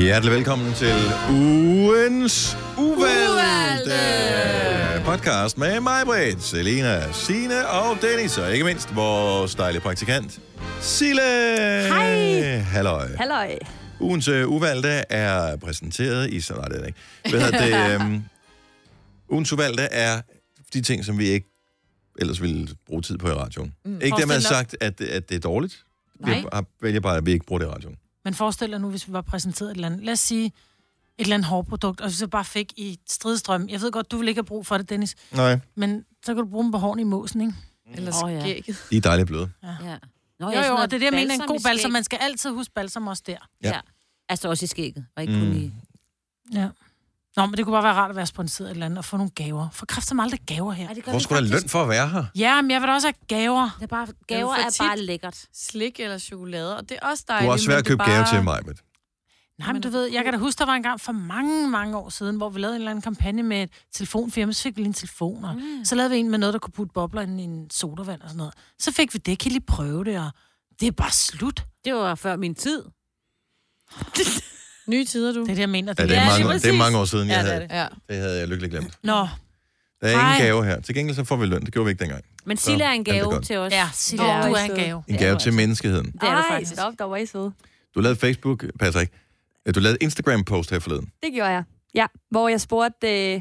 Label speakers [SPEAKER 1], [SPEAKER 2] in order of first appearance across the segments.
[SPEAKER 1] Hjertelig velkommen til ugens uvalgte podcast med mig, Britt, Selina, Sine og Dennis, og ikke mindst vores dejlige praktikant, Sille.
[SPEAKER 2] Hej.
[SPEAKER 1] Halløj.
[SPEAKER 2] Halløj.
[SPEAKER 1] Ugens øh, uvalgte er præsenteret i... Så nej, det er det ikke. Hvad hedder det? øhm, ugens uvalgte er de ting, som vi ikke ellers ville bruge tid på i radioen. Mm. Ikke dermed
[SPEAKER 3] Forestil dig.
[SPEAKER 1] sagt, at, at det er dårligt. Vi
[SPEAKER 3] Nej.
[SPEAKER 1] har- vælger bare, at vi ikke bruger det i radioen.
[SPEAKER 3] Men forestil dig nu, hvis vi var præsenteret et eller andet, lad os sige, et eller andet hårprodukt, og så bare fik i stridstrøm. Jeg ved godt, du vil ikke have brug for det, Dennis,
[SPEAKER 1] Nej.
[SPEAKER 3] men så kan du bruge dem på hårene i måsen, ikke?
[SPEAKER 4] Eller
[SPEAKER 2] Åh, ja.
[SPEAKER 4] skægget.
[SPEAKER 1] De er dejligt bløde.
[SPEAKER 2] Ja. Nå,
[SPEAKER 3] Jo,
[SPEAKER 2] ja, sådan
[SPEAKER 3] jo, og
[SPEAKER 2] noget
[SPEAKER 3] det er det, jeg mener, en god
[SPEAKER 2] i
[SPEAKER 3] balsam.
[SPEAKER 2] skæg.
[SPEAKER 3] Man skal altid huske balsam også der.
[SPEAKER 1] Ja.
[SPEAKER 2] Ja. ja. Altså også i skægget, og ikke mm. kun
[SPEAKER 1] Mm.
[SPEAKER 2] i...
[SPEAKER 3] Ja. Nå, men det kunne bare være rart at være sponsoreret et eller andet og få nogle gaver. For kræft som aldrig gaver her.
[SPEAKER 2] Ej, det gør
[SPEAKER 1] Hvor
[SPEAKER 2] vi
[SPEAKER 1] skulle der
[SPEAKER 2] faktisk.
[SPEAKER 1] løn for at være her?
[SPEAKER 3] Ja, men jeg vil da også have gaver.
[SPEAKER 2] Det er bare, gaver
[SPEAKER 4] for
[SPEAKER 2] er
[SPEAKER 4] tit.
[SPEAKER 2] bare lækkert.
[SPEAKER 4] Slik eller chokolade, og det er også
[SPEAKER 1] Du
[SPEAKER 4] dejligt.
[SPEAKER 1] har også svært at købe bare... gave til mig, men...
[SPEAKER 3] Nej, men du ved, jeg kan da huske, der var en gang for mange, mange år siden, hvor vi lavede en eller anden kampagne med et telefonfirma, så fik vi lige en telefon, og mm. så lavede vi en med noget, der kunne putte bobler ind i en sodavand og sådan noget. Så fik vi det, kan I lige prøve det, og det er bare slut. Det
[SPEAKER 2] Det var før min tid.
[SPEAKER 4] Nye tider, du.
[SPEAKER 3] er det, jeg mener.
[SPEAKER 1] Ja, det, er
[SPEAKER 4] Ja,
[SPEAKER 1] mange,
[SPEAKER 4] lige
[SPEAKER 1] år- det er
[SPEAKER 4] præcis.
[SPEAKER 1] mange år siden, jeg
[SPEAKER 2] Ja, det er
[SPEAKER 1] havde.
[SPEAKER 2] det.
[SPEAKER 4] Ja.
[SPEAKER 1] Det havde jeg lykkeligt glemt.
[SPEAKER 3] Nå,
[SPEAKER 1] Der er ingen
[SPEAKER 3] Ej.
[SPEAKER 1] gave her. Til gengæld så får vi løn. Det gjorde vi ikke dengang.
[SPEAKER 2] Men Silla er en
[SPEAKER 1] alt er
[SPEAKER 2] gave
[SPEAKER 1] godt.
[SPEAKER 2] til os.
[SPEAKER 3] ja, Silla,
[SPEAKER 4] Nå,
[SPEAKER 3] du
[SPEAKER 4] i
[SPEAKER 3] er en
[SPEAKER 4] stedet.
[SPEAKER 3] gave.
[SPEAKER 1] En
[SPEAKER 2] Det er
[SPEAKER 1] gave
[SPEAKER 2] du
[SPEAKER 1] til menneskeheden.
[SPEAKER 2] Det er du faktisk.
[SPEAKER 5] stop, der var I søde.
[SPEAKER 1] Du lavede Facebook, Patrick. Øh, Du lavede Instagram-post her forleden.
[SPEAKER 5] Det gjorde jeg. Ja, hvor jeg spurgte, øh,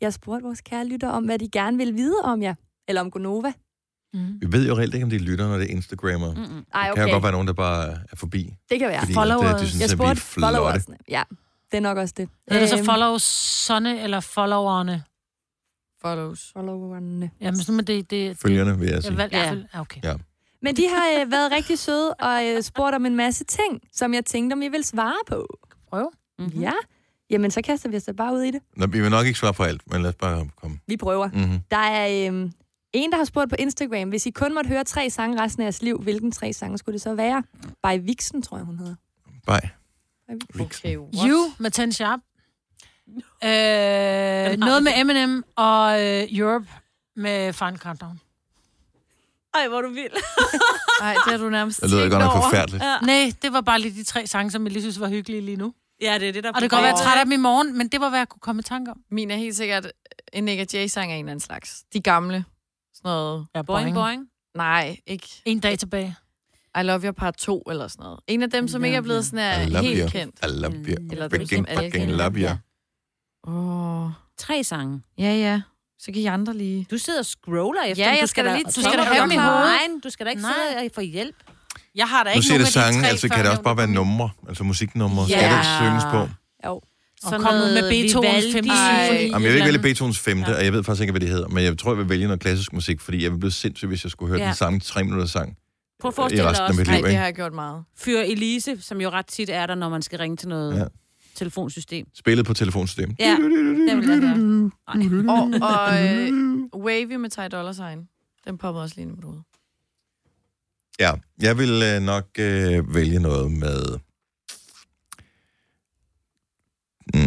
[SPEAKER 5] jeg spurgte vores kære lytter om, hvad de gerne ville vide om jer. Eller om Gonova.
[SPEAKER 3] Mm.
[SPEAKER 1] Vi ved jo reelt ikke, om det er lytter, når det er Instagrammer. Mm.
[SPEAKER 2] Mm-mm.
[SPEAKER 5] Ej,
[SPEAKER 1] Der
[SPEAKER 5] okay.
[SPEAKER 1] kan jo godt være nogen, der bare er forbi.
[SPEAKER 5] Det kan være.
[SPEAKER 1] Fordi
[SPEAKER 3] Followers.
[SPEAKER 1] at, øh, de synes,
[SPEAKER 5] jeg
[SPEAKER 1] at vi er
[SPEAKER 5] spurgte
[SPEAKER 1] flotte.
[SPEAKER 5] followersne. Ja, det er nok også det.
[SPEAKER 3] Er det så
[SPEAKER 5] Øhm,
[SPEAKER 3] follow sonne eller followerne?
[SPEAKER 4] Follows.
[SPEAKER 5] followerne?
[SPEAKER 3] Jamen, sådan med det... det
[SPEAKER 1] Følgerne, vil jeg
[SPEAKER 3] jeg
[SPEAKER 1] sige.
[SPEAKER 3] valgte,
[SPEAKER 2] Ja.
[SPEAKER 3] ja. ja, okay.
[SPEAKER 5] Men de har øh, været rigtig søde og øh, spurgt om en masse ting, som jeg tænkte, om I ville svare på.
[SPEAKER 3] Prøv.
[SPEAKER 2] Mm-hmm.
[SPEAKER 5] Ja, jamen så kaster vi os da bare ud i det.
[SPEAKER 1] Nå, vi vil nok ikke svare på alt, men lad os bare komme.
[SPEAKER 5] Vi prøver.
[SPEAKER 1] Mm-hmm.
[SPEAKER 5] Der er øh, en, der har spurgt på Instagram, hvis I kun måtte høre tre sange resten af jeres liv, hvilken tre sange skulle det så være? By Vixen, tror jeg, hun hedder.
[SPEAKER 1] Bye.
[SPEAKER 4] Okay, what?
[SPEAKER 3] You med 10 Sharp. Øh, noget med Eminem og øh, Europe med Final Countdown.
[SPEAKER 2] Ej, hvor du vild.
[SPEAKER 4] Nej, det har du nærmest
[SPEAKER 1] Det lyder
[SPEAKER 4] tænkt
[SPEAKER 1] godt nok
[SPEAKER 4] over.
[SPEAKER 1] forfærdeligt.
[SPEAKER 2] Ja.
[SPEAKER 3] Nej, det var bare lige de tre sange, som jeg lige synes var hyggelige lige nu.
[SPEAKER 2] ja, det er det, der
[SPEAKER 3] Og det kan godt være, jeg er træt af dem i morgen, men det var, hvad jeg kunne komme i tanke om.
[SPEAKER 4] Min er helt sikkert en Nick og Jay-sang af en eller anden slags. De gamle. Sådan noget.
[SPEAKER 3] Ja,
[SPEAKER 2] Boing, boing.
[SPEAKER 4] Nej, ikke.
[SPEAKER 3] En dag tilbage.
[SPEAKER 4] I Love Your Part 2 eller sådan noget. En af dem, som ikke er blevet sådan
[SPEAKER 1] I
[SPEAKER 4] her
[SPEAKER 1] love
[SPEAKER 4] helt
[SPEAKER 1] you.
[SPEAKER 4] kendt.
[SPEAKER 1] I love you.
[SPEAKER 2] Mm,
[SPEAKER 4] Eller dem,
[SPEAKER 1] Fucking,
[SPEAKER 4] som alle
[SPEAKER 1] fucking
[SPEAKER 4] kender.
[SPEAKER 1] love you.
[SPEAKER 4] Åh.
[SPEAKER 2] Tre sange.
[SPEAKER 4] Ja, ja. Så kan I andre lige...
[SPEAKER 2] Du sidder og scroller efter
[SPEAKER 4] Ja,
[SPEAKER 2] dem.
[SPEAKER 4] jeg
[SPEAKER 2] Du
[SPEAKER 4] skal da lige
[SPEAKER 2] du
[SPEAKER 4] tænke
[SPEAKER 2] skal da
[SPEAKER 4] over
[SPEAKER 2] have dem
[SPEAKER 4] dem
[SPEAKER 2] i
[SPEAKER 4] i hovedet.
[SPEAKER 2] hovedet. Du skal da ikke
[SPEAKER 3] Nej.
[SPEAKER 2] sidde og få hjælp.
[SPEAKER 3] Jeg har da
[SPEAKER 1] Nu
[SPEAKER 3] ikke
[SPEAKER 1] siger
[SPEAKER 3] nogen
[SPEAKER 1] det
[SPEAKER 3] af de
[SPEAKER 1] sange,
[SPEAKER 3] tre
[SPEAKER 1] altså kan det også bare være numre, altså musiknumre.
[SPEAKER 2] Ja.
[SPEAKER 1] Skal det ikke synges på?
[SPEAKER 5] Jo.
[SPEAKER 3] Og kom nu med Beethovens femte symfoni.
[SPEAKER 1] Jamen, jeg vil ikke
[SPEAKER 3] Eller
[SPEAKER 1] vælge
[SPEAKER 3] andet.
[SPEAKER 1] Beethovens 5., ja. og jeg ved faktisk ikke, hvad det hedder, men jeg tror, jeg vil vælge noget klassisk musik, fordi jeg vil blive sindssyg, hvis jeg skulle høre
[SPEAKER 2] Ja.
[SPEAKER 1] ja. den samme 3 minutter sang.
[SPEAKER 2] Prøv at
[SPEAKER 1] I
[SPEAKER 2] forestille dig
[SPEAKER 1] resten af mit liv.
[SPEAKER 2] også.
[SPEAKER 4] Nej,
[SPEAKER 1] ikke?
[SPEAKER 4] det har jeg gjort meget.
[SPEAKER 2] Fyr Elise, som jo ret tit er der, når man skal ringe til noget
[SPEAKER 1] Ja.
[SPEAKER 2] telefonsystem.
[SPEAKER 1] Spillet på telefonsystemet.
[SPEAKER 2] Ja, det vil jeg have.
[SPEAKER 4] Og, og øh, Wavy med Ty Dolla Sign. Den popper også lige ind i mit hoved.
[SPEAKER 1] Ja, jeg vil øh, nok øh, vælge noget med... Mm,
[SPEAKER 2] Ej,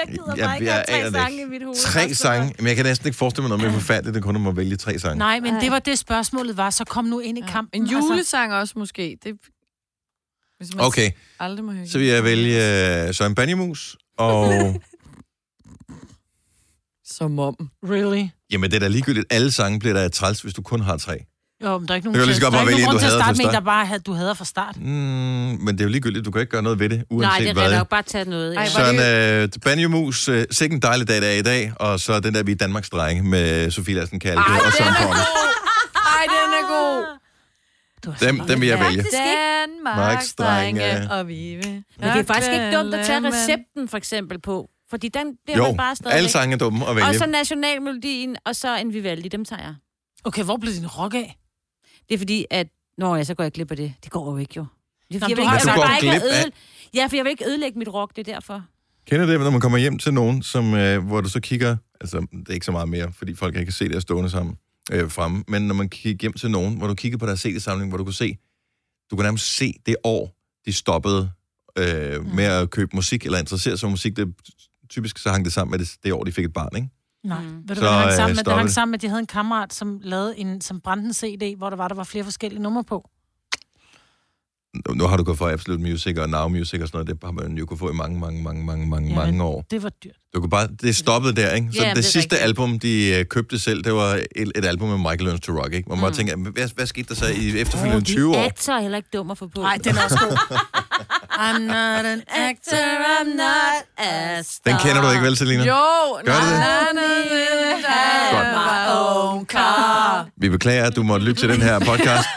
[SPEAKER 2] jeg gider
[SPEAKER 1] Ja,
[SPEAKER 2] bare ikke
[SPEAKER 1] jeg
[SPEAKER 2] have
[SPEAKER 1] aner
[SPEAKER 2] tre
[SPEAKER 1] det
[SPEAKER 2] sange
[SPEAKER 1] ikke.
[SPEAKER 2] i mit hoved.
[SPEAKER 1] tre sange, men jeg kan næsten ikke forestille mig noget mere forfærdeligt, end kun at man vælge tre sange.
[SPEAKER 3] Nej, men det var det, spørgsmålet var. Så kom nu ind i kampen. Altså,
[SPEAKER 4] En julesang også måske. Det, hvis man
[SPEAKER 1] Okay,
[SPEAKER 4] aldrig må høre.
[SPEAKER 1] så vil jeg vælge øh, Søren Banjemus, og...
[SPEAKER 4] Som om.
[SPEAKER 3] Really?
[SPEAKER 1] Jamen, det er da ligegyldigt. Alle sange bliver da træls, hvis du kun har tre.
[SPEAKER 3] Jo, men der er ikke
[SPEAKER 1] Det kan
[SPEAKER 3] nogen,
[SPEAKER 1] lige så godt
[SPEAKER 3] der er
[SPEAKER 1] bare
[SPEAKER 3] ikke
[SPEAKER 1] vælge en,
[SPEAKER 3] nogen
[SPEAKER 1] du
[SPEAKER 3] grund til at
[SPEAKER 1] hader
[SPEAKER 3] starte
[SPEAKER 1] fra
[SPEAKER 3] med, en,
[SPEAKER 1] start.
[SPEAKER 3] der bare havde, du hader fra start.
[SPEAKER 1] Mm, men det er jo ligegyldigt. Du kan ikke gøre noget ved det,
[SPEAKER 2] Nej,
[SPEAKER 1] uanset
[SPEAKER 2] det er
[SPEAKER 1] hvad.
[SPEAKER 2] rigtigt nok bare tage noget.
[SPEAKER 4] Ej,
[SPEAKER 2] ja.
[SPEAKER 4] hvor-
[SPEAKER 1] Søren øh, Banjemus, øh, sikke en dejlig dag, der er i dag. Og så den der, vi er Danmarks drenge med Sofie Lassen Kalke og Søren Pomme.
[SPEAKER 4] Ej, den er god.
[SPEAKER 3] Du er så
[SPEAKER 1] Dem,
[SPEAKER 3] meget-
[SPEAKER 1] dem vil jeg vælge.
[SPEAKER 2] Faktisk ikke.
[SPEAKER 4] Danmarks
[SPEAKER 1] Marks drenge.
[SPEAKER 4] drenge og Vive.
[SPEAKER 2] Men det er faktisk ikke dumt at tage recepten for eksempel på. Fordi den bliver man
[SPEAKER 1] Jo,
[SPEAKER 2] bare stadigvæk.
[SPEAKER 1] alle sange er dumme at
[SPEAKER 2] Og
[SPEAKER 1] vælge.
[SPEAKER 2] så nationalmelodien, og så en Vivaldi, dem tager jeg.
[SPEAKER 3] Okay, hvor blev din rock af?
[SPEAKER 2] Det er fordi, at... Nå ja, så går jeg glip af det. Det går jo ikke, jo. Det er,
[SPEAKER 3] Nå,
[SPEAKER 2] fordi, jeg
[SPEAKER 3] du
[SPEAKER 2] vil
[SPEAKER 3] har-
[SPEAKER 2] ikke, jeg
[SPEAKER 3] Men
[SPEAKER 2] vil
[SPEAKER 3] du går
[SPEAKER 2] bare ikke
[SPEAKER 1] Altså, glip af-
[SPEAKER 2] ødelægge... Ja, for jeg vil ikke ødelægge mit rock, det er derfor.
[SPEAKER 1] Kender det, når man kommer hjem til nogen, som, øh, hvor du så kigger... Altså, det er ikke så meget mere, fordi folk ikke kan se det her stående sammen øh, fremme. Men når man kigger hjem til nogen, hvor du kigger på deres CD-samling, hvor du kunne se... Du kunne nærmest se det år, de stoppede øh, med at købe musik, eller interessere sig for musik. Det, typisk så hang det sammen med det, det år, de fik et barn, ikke?
[SPEAKER 3] Nej,
[SPEAKER 2] Mm.
[SPEAKER 3] ved
[SPEAKER 1] Så,
[SPEAKER 3] du, hvad det hang
[SPEAKER 1] øh,
[SPEAKER 3] sammen med? Det
[SPEAKER 1] stopper
[SPEAKER 3] hang
[SPEAKER 1] det.
[SPEAKER 3] sammen med, at de havde en kammerat, som, lavede en, som brændte en CD, hvor der var, der var flere forskellige numre på.
[SPEAKER 1] nu- nu har du gået fra Absolute Music og Now Music og sådan noget, det har man jo kunne få i mange, mange, mange, mange, mange,
[SPEAKER 3] Ja,
[SPEAKER 1] mange år.
[SPEAKER 3] Det var dyrt.
[SPEAKER 1] Du kunne bare, det stoppede der, ikke? Så
[SPEAKER 2] Ja,
[SPEAKER 1] ja,
[SPEAKER 2] men
[SPEAKER 1] det,
[SPEAKER 2] det er
[SPEAKER 1] sidste
[SPEAKER 2] rigtigt.
[SPEAKER 1] album, de øh, købte selv, det var et, et album med Michael Learns to Rock, ikke? Man mm. bare tænker, hvad, hvad skete der så i efterfølgende 20 år?
[SPEAKER 2] Actor er heller ikke dum at få på.
[SPEAKER 3] Nej, den er også god.
[SPEAKER 4] Ah,
[SPEAKER 3] I'm not an actor, I'm not
[SPEAKER 2] a
[SPEAKER 1] Den kender du ikke vel, Selina?
[SPEAKER 4] Jo,
[SPEAKER 1] Gør
[SPEAKER 4] nej,
[SPEAKER 1] du det?
[SPEAKER 4] nej, nej, nej, nej,
[SPEAKER 1] Godt.
[SPEAKER 4] my own car.
[SPEAKER 1] Vi beklager, at du måtte lytte til den her podcast.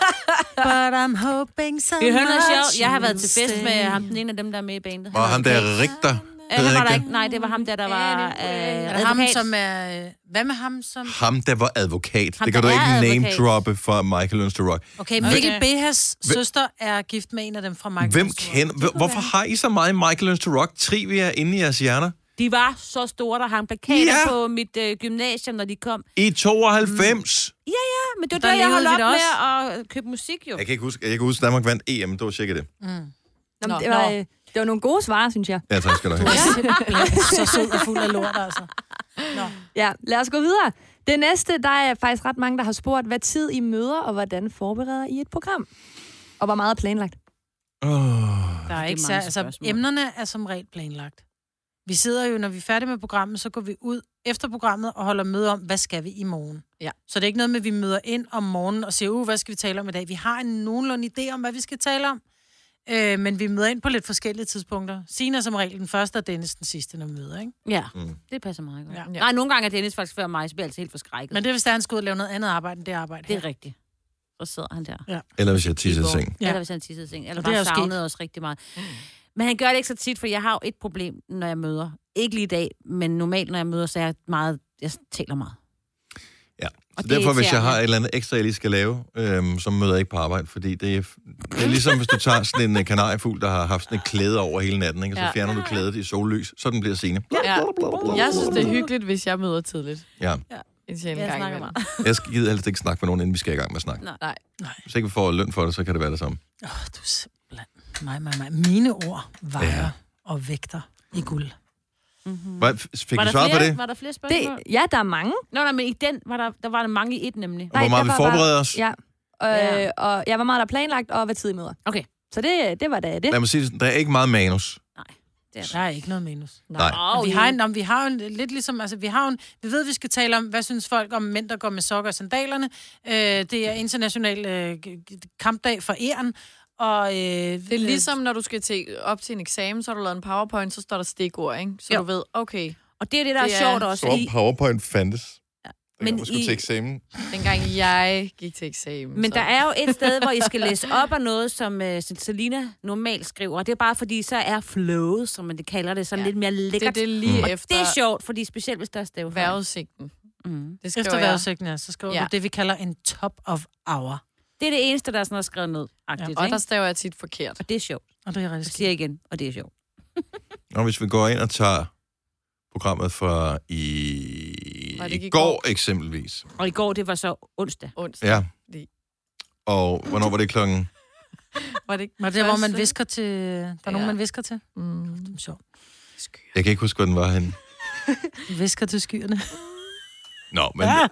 [SPEAKER 3] But I'm hoping so
[SPEAKER 2] Det er noget
[SPEAKER 3] much
[SPEAKER 2] sjovt. Jeg har været til
[SPEAKER 3] you'll
[SPEAKER 2] fest
[SPEAKER 3] stay.
[SPEAKER 2] med ham, den ene af dem, der er med i bandet.
[SPEAKER 1] Og
[SPEAKER 2] Han
[SPEAKER 1] ham
[SPEAKER 2] hedder
[SPEAKER 1] der
[SPEAKER 2] Kate.
[SPEAKER 1] Rigter.
[SPEAKER 2] Ja,
[SPEAKER 1] Ved
[SPEAKER 2] han
[SPEAKER 1] jeg
[SPEAKER 2] var der
[SPEAKER 1] ikke
[SPEAKER 2] ikke. Nej, det var ham der, der var øh,
[SPEAKER 3] Er det ham,
[SPEAKER 2] advokat.
[SPEAKER 3] som er... øh, Hvad med ham, som...
[SPEAKER 1] det. Ham, der var advokat.
[SPEAKER 2] Ham,
[SPEAKER 1] det kan
[SPEAKER 2] der
[SPEAKER 1] du
[SPEAKER 2] er
[SPEAKER 1] ikke
[SPEAKER 2] advokat.
[SPEAKER 1] name-droppe fra Michael Learns to Rock.
[SPEAKER 3] Okay, Mikkel Behas søster er gift med en af dem fra Michael.
[SPEAKER 1] Hvem
[SPEAKER 3] Jackson.
[SPEAKER 1] kender... Hvem, hvorfor har I så meget Michael Learns to Rock trivia inde i jeres hjerner?
[SPEAKER 2] De var så store, der hang plakater
[SPEAKER 1] Ja.
[SPEAKER 2] på mit øh, gymnasium, når de kom.
[SPEAKER 1] I 92! Mm.
[SPEAKER 2] Ja, men det var
[SPEAKER 3] Der
[SPEAKER 2] der, jeg
[SPEAKER 3] levede
[SPEAKER 2] holdt
[SPEAKER 3] vi
[SPEAKER 2] op med
[SPEAKER 3] det
[SPEAKER 2] at øh, købe musik, jo.
[SPEAKER 1] Jeg kan ikke huske, jeg kan huske, Danmark vandt EM. Det var cirka det.
[SPEAKER 3] Mm.
[SPEAKER 5] Nå, men
[SPEAKER 4] Nå.
[SPEAKER 5] det, var, øh, det var nogle gode svar, synes jeg.
[SPEAKER 1] Ja, tak skal du have.
[SPEAKER 3] Så sød og fuld af lort, altså.
[SPEAKER 5] Ja, lad os gå videre. Det næste, der er faktisk ret mange, der har spurgt, hvad tid I møder, og hvordan forbereder I et program? Og hvor meget er planlagt?
[SPEAKER 1] Oh.
[SPEAKER 3] Der er ikke
[SPEAKER 2] mange
[SPEAKER 3] sær, altså,
[SPEAKER 2] spørgsmål.
[SPEAKER 3] emnerne er som regel planlagt. Vi sidder jo, når vi er færdige med programmet, så går vi ud efter programmet og holder møde om, hvad skal vi i morgen.
[SPEAKER 4] Ja.
[SPEAKER 3] Så det er ikke noget med, at vi møder ind om morgenen og siger, uh, hvad skal vi tale om i dag? Vi har en nogenlunde idé om, hvad vi skal tale om, øh, men vi møder ind på lidt forskellige tidspunkter. Sina er som regel den første, og Dennis den sidste, når vi møder, ikke?
[SPEAKER 2] Ja,
[SPEAKER 1] Mm.
[SPEAKER 2] det passer meget godt.
[SPEAKER 3] Ja.
[SPEAKER 2] Ja. Nej, nogle gange er Dennis faktisk før mig, så bliver jeg altså helt forskrækket.
[SPEAKER 3] Men det er, hvis der er, han skal ud og lave noget andet arbejde end det arbejde
[SPEAKER 2] det
[SPEAKER 3] her.
[SPEAKER 2] er rigtigt. Så sidder han der.
[SPEAKER 1] Eller hvis jeg tisser i
[SPEAKER 2] går.
[SPEAKER 1] seng.
[SPEAKER 3] Ja.
[SPEAKER 2] Ja. Eller hvis han tissede i seng. Eller
[SPEAKER 3] Og det er
[SPEAKER 2] bare
[SPEAKER 3] jo sket.
[SPEAKER 2] savnede os rigtig meget. Men han gør det ikke så tit, for jeg har jo et problem, når jeg møder. Ikke lige i dag, men normalt, når jeg møder, så er jeg meget... Jeg taler meget.
[SPEAKER 1] Ja.
[SPEAKER 2] Og
[SPEAKER 1] Så
[SPEAKER 2] det
[SPEAKER 1] derfor, hvis jeg
[SPEAKER 2] irriterer
[SPEAKER 1] har
[SPEAKER 2] mig.
[SPEAKER 1] et eller andet ekstra, jeg lige skal lave, øhm, så møder jeg ikke på arbejde, fordi det er, det er ligesom, hvis du tager sådan en øh, kanariefugl, der har haft sådan et klæde over hele natten, ikke? og så
[SPEAKER 4] Ja.
[SPEAKER 1] fjerner du klædet i sollys, så den bliver sene.
[SPEAKER 4] Ja. Jeg synes, det er hyggeligt, hvis jeg møder tidligt.
[SPEAKER 1] Ja.
[SPEAKER 4] En
[SPEAKER 2] Mm.
[SPEAKER 4] sjældent
[SPEAKER 2] Jeg
[SPEAKER 4] gang
[SPEAKER 2] snakker
[SPEAKER 4] imellem.
[SPEAKER 1] Jeg skal gider helst ikke snakke med nogen, inden vi skal i gang med at snakke.
[SPEAKER 2] Nej.
[SPEAKER 4] Nej.
[SPEAKER 1] Hvis ikke vi får løn for det, så kan det være det samme.
[SPEAKER 3] Åh, oh, du er simpelthen... Mig, mig, mig. Mine ord vejer
[SPEAKER 1] Ja.
[SPEAKER 3] ja. og vægter i guld.
[SPEAKER 1] Hvad, fik
[SPEAKER 2] Var
[SPEAKER 1] du
[SPEAKER 2] der,
[SPEAKER 1] svaret
[SPEAKER 2] flere,
[SPEAKER 1] på det?
[SPEAKER 2] var der flere
[SPEAKER 5] Det,
[SPEAKER 2] spørgsmål? Det...
[SPEAKER 5] ja, der er mange.
[SPEAKER 2] Nå, nej, men i den var der, der var der mange i et nemlig.
[SPEAKER 1] Og hvor meget vi
[SPEAKER 5] der var
[SPEAKER 1] forbereder os?
[SPEAKER 5] Ja. Øh,
[SPEAKER 2] Ja.
[SPEAKER 5] og ja, hvor meget der er planlagt, og hvad tid I møder.
[SPEAKER 2] Okay.
[SPEAKER 5] Så det, øh, det var da det.
[SPEAKER 1] Lad mig sige det sådan, der er ikke meget manus.
[SPEAKER 3] Der er ikke noget minus.
[SPEAKER 1] Nej.
[SPEAKER 2] Oh,
[SPEAKER 3] Og vi har, en, om, vi har jo en, lidt ligesom, altså vi har jo en, vi ved, vi skal tale om, hvad synes folk om mænd, der går med sokker og sandalerne. Øh, det er international øh, g- g- kampdag for æren. Og, øh,
[SPEAKER 4] Det er ligesom, når du skal til, op til en eksamen, så har du lavet en powerpoint, så står der stikord, ikke? Så
[SPEAKER 2] Jo.
[SPEAKER 4] du ved, okay,
[SPEAKER 2] Og det er det, der er,
[SPEAKER 4] Det er
[SPEAKER 2] sjovt også. I,
[SPEAKER 1] PowerPoint fandtes.
[SPEAKER 2] Men dengang man skulle I- til
[SPEAKER 1] eksamen.
[SPEAKER 4] dengang jeg gik til eksamen.
[SPEAKER 2] men
[SPEAKER 4] så.
[SPEAKER 2] der er jo et sted, hvor I skal læse op af noget, som uh, Selina normalt skriver. Og det er bare fordi, så er flowet, som man det kalder det, sådan
[SPEAKER 4] Ja.
[SPEAKER 2] lidt mere
[SPEAKER 4] Det er
[SPEAKER 2] lækkert. Det,
[SPEAKER 4] det lige
[SPEAKER 1] Og
[SPEAKER 4] efter
[SPEAKER 2] Mm. det, det er sjovt, fordi specielt hvis der er stavefejl.
[SPEAKER 4] vejrudsigten.
[SPEAKER 2] Mm.
[SPEAKER 4] Det skriver
[SPEAKER 3] efter
[SPEAKER 4] jeg.
[SPEAKER 3] vejrudsigten, ja, så skriver ja.
[SPEAKER 4] Ja.
[SPEAKER 3] du det, vi kalder en top of hour.
[SPEAKER 2] Det er det eneste, der er sådan noget skrevet ned. Ja,
[SPEAKER 3] Ja,
[SPEAKER 2] og,
[SPEAKER 4] Og der
[SPEAKER 2] der...
[SPEAKER 4] staver jeg tit forkert.
[SPEAKER 2] og det er sjovt.
[SPEAKER 3] Og det er
[SPEAKER 2] Jeg
[SPEAKER 3] rigtig
[SPEAKER 2] siger
[SPEAKER 3] skidt.
[SPEAKER 2] igen, og det er sjovt.
[SPEAKER 1] Og hvis vi går ind og tager programmet fra i,
[SPEAKER 4] Var det ikke
[SPEAKER 1] i
[SPEAKER 4] i
[SPEAKER 1] går eksempelvis.
[SPEAKER 2] Og i går, det var så onsdag.
[SPEAKER 4] Onsdag.
[SPEAKER 1] Ja.
[SPEAKER 4] Lige.
[SPEAKER 1] Og hvornår var det klokken?
[SPEAKER 4] Var det ikke
[SPEAKER 3] Var det, hvor man
[SPEAKER 4] første?
[SPEAKER 3] visker til... Der er nogen,
[SPEAKER 4] Ja.
[SPEAKER 3] man visker til.
[SPEAKER 4] Mm.
[SPEAKER 3] Sjovt.
[SPEAKER 1] Jeg kan ikke huske, hvor den var henne.
[SPEAKER 3] Visker til skyerne. Ah!
[SPEAKER 1] Nå, men
[SPEAKER 3] Ja.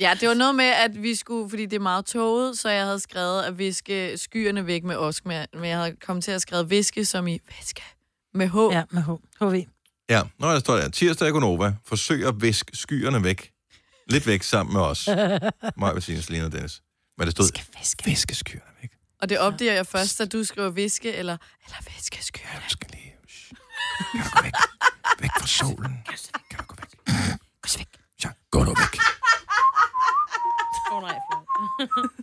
[SPEAKER 4] Ja, det var noget med, at vi skulle, fordi det er meget tåget, så jeg havde skrevet at viske skyerne væk med osk, men men jeg havde kommet til at skrive viske som i væske med H. Ja.
[SPEAKER 3] Ja, med H. HV.
[SPEAKER 1] ja. Nå, der står der. Tirsdag i Gonova. Forsøg at viske skyerne væk. Lidt væk sammen med os. Mig, Bettina, Selina og Dennis. Men det stod,
[SPEAKER 3] Skal viske.
[SPEAKER 1] viske skyerne væk.
[SPEAKER 4] Og det opdager jeg først, at du skriver viske eller, eller væske
[SPEAKER 1] Ja,
[SPEAKER 4] skyerne.
[SPEAKER 1] du skal lige... Shh. Kan du gå væk? Væk fra solen. Kan du gå væk?
[SPEAKER 2] Gå så væk.
[SPEAKER 1] Ja, gå nu væk.
[SPEAKER 2] Åh, nej,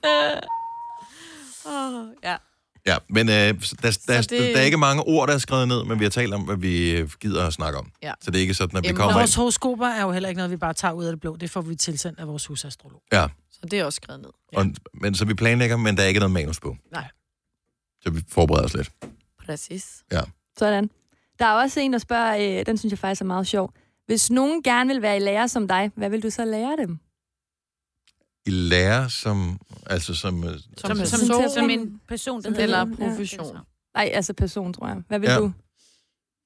[SPEAKER 4] Oh, ja.
[SPEAKER 1] Ja, men øh, der, der, der,
[SPEAKER 4] det-
[SPEAKER 1] der er ikke mange ord, der er skrevet ned, men vi har talt om, hvad vi øh, gider at snakke om.
[SPEAKER 4] Ja.
[SPEAKER 1] Så det er ikke sådan, at vi
[SPEAKER 4] Emner.
[SPEAKER 1] kommer
[SPEAKER 3] Vores
[SPEAKER 1] ind.
[SPEAKER 3] horoskoper er jo heller ikke noget, vi bare tager ud af det blå. Det får vi tilsendt af vores husastrolog.
[SPEAKER 1] Ja,
[SPEAKER 4] Så det er også skrevet ned.
[SPEAKER 1] og, men, så vi planlægger, men der er ikke noget manus på.
[SPEAKER 4] Nej.
[SPEAKER 1] Så vi forbereder os lidt.
[SPEAKER 4] Præcis.
[SPEAKER 5] Sådan. Der er også en, der spørger, øh, den synes jeg faktisk er meget sjov. Hvis nogen gerne vil være i lærer som dig, hvad vil du så lære dem?
[SPEAKER 1] I lærer som... Altså som... øh,
[SPEAKER 4] Som,
[SPEAKER 1] altså,
[SPEAKER 4] som,
[SPEAKER 5] som-
[SPEAKER 4] som,
[SPEAKER 2] Som en person, der
[SPEAKER 5] Som-
[SPEAKER 2] hedder-
[SPEAKER 4] eller profession.
[SPEAKER 5] Nej, altså person, tror jeg. Hvad vil
[SPEAKER 1] Ja.
[SPEAKER 5] ja. du?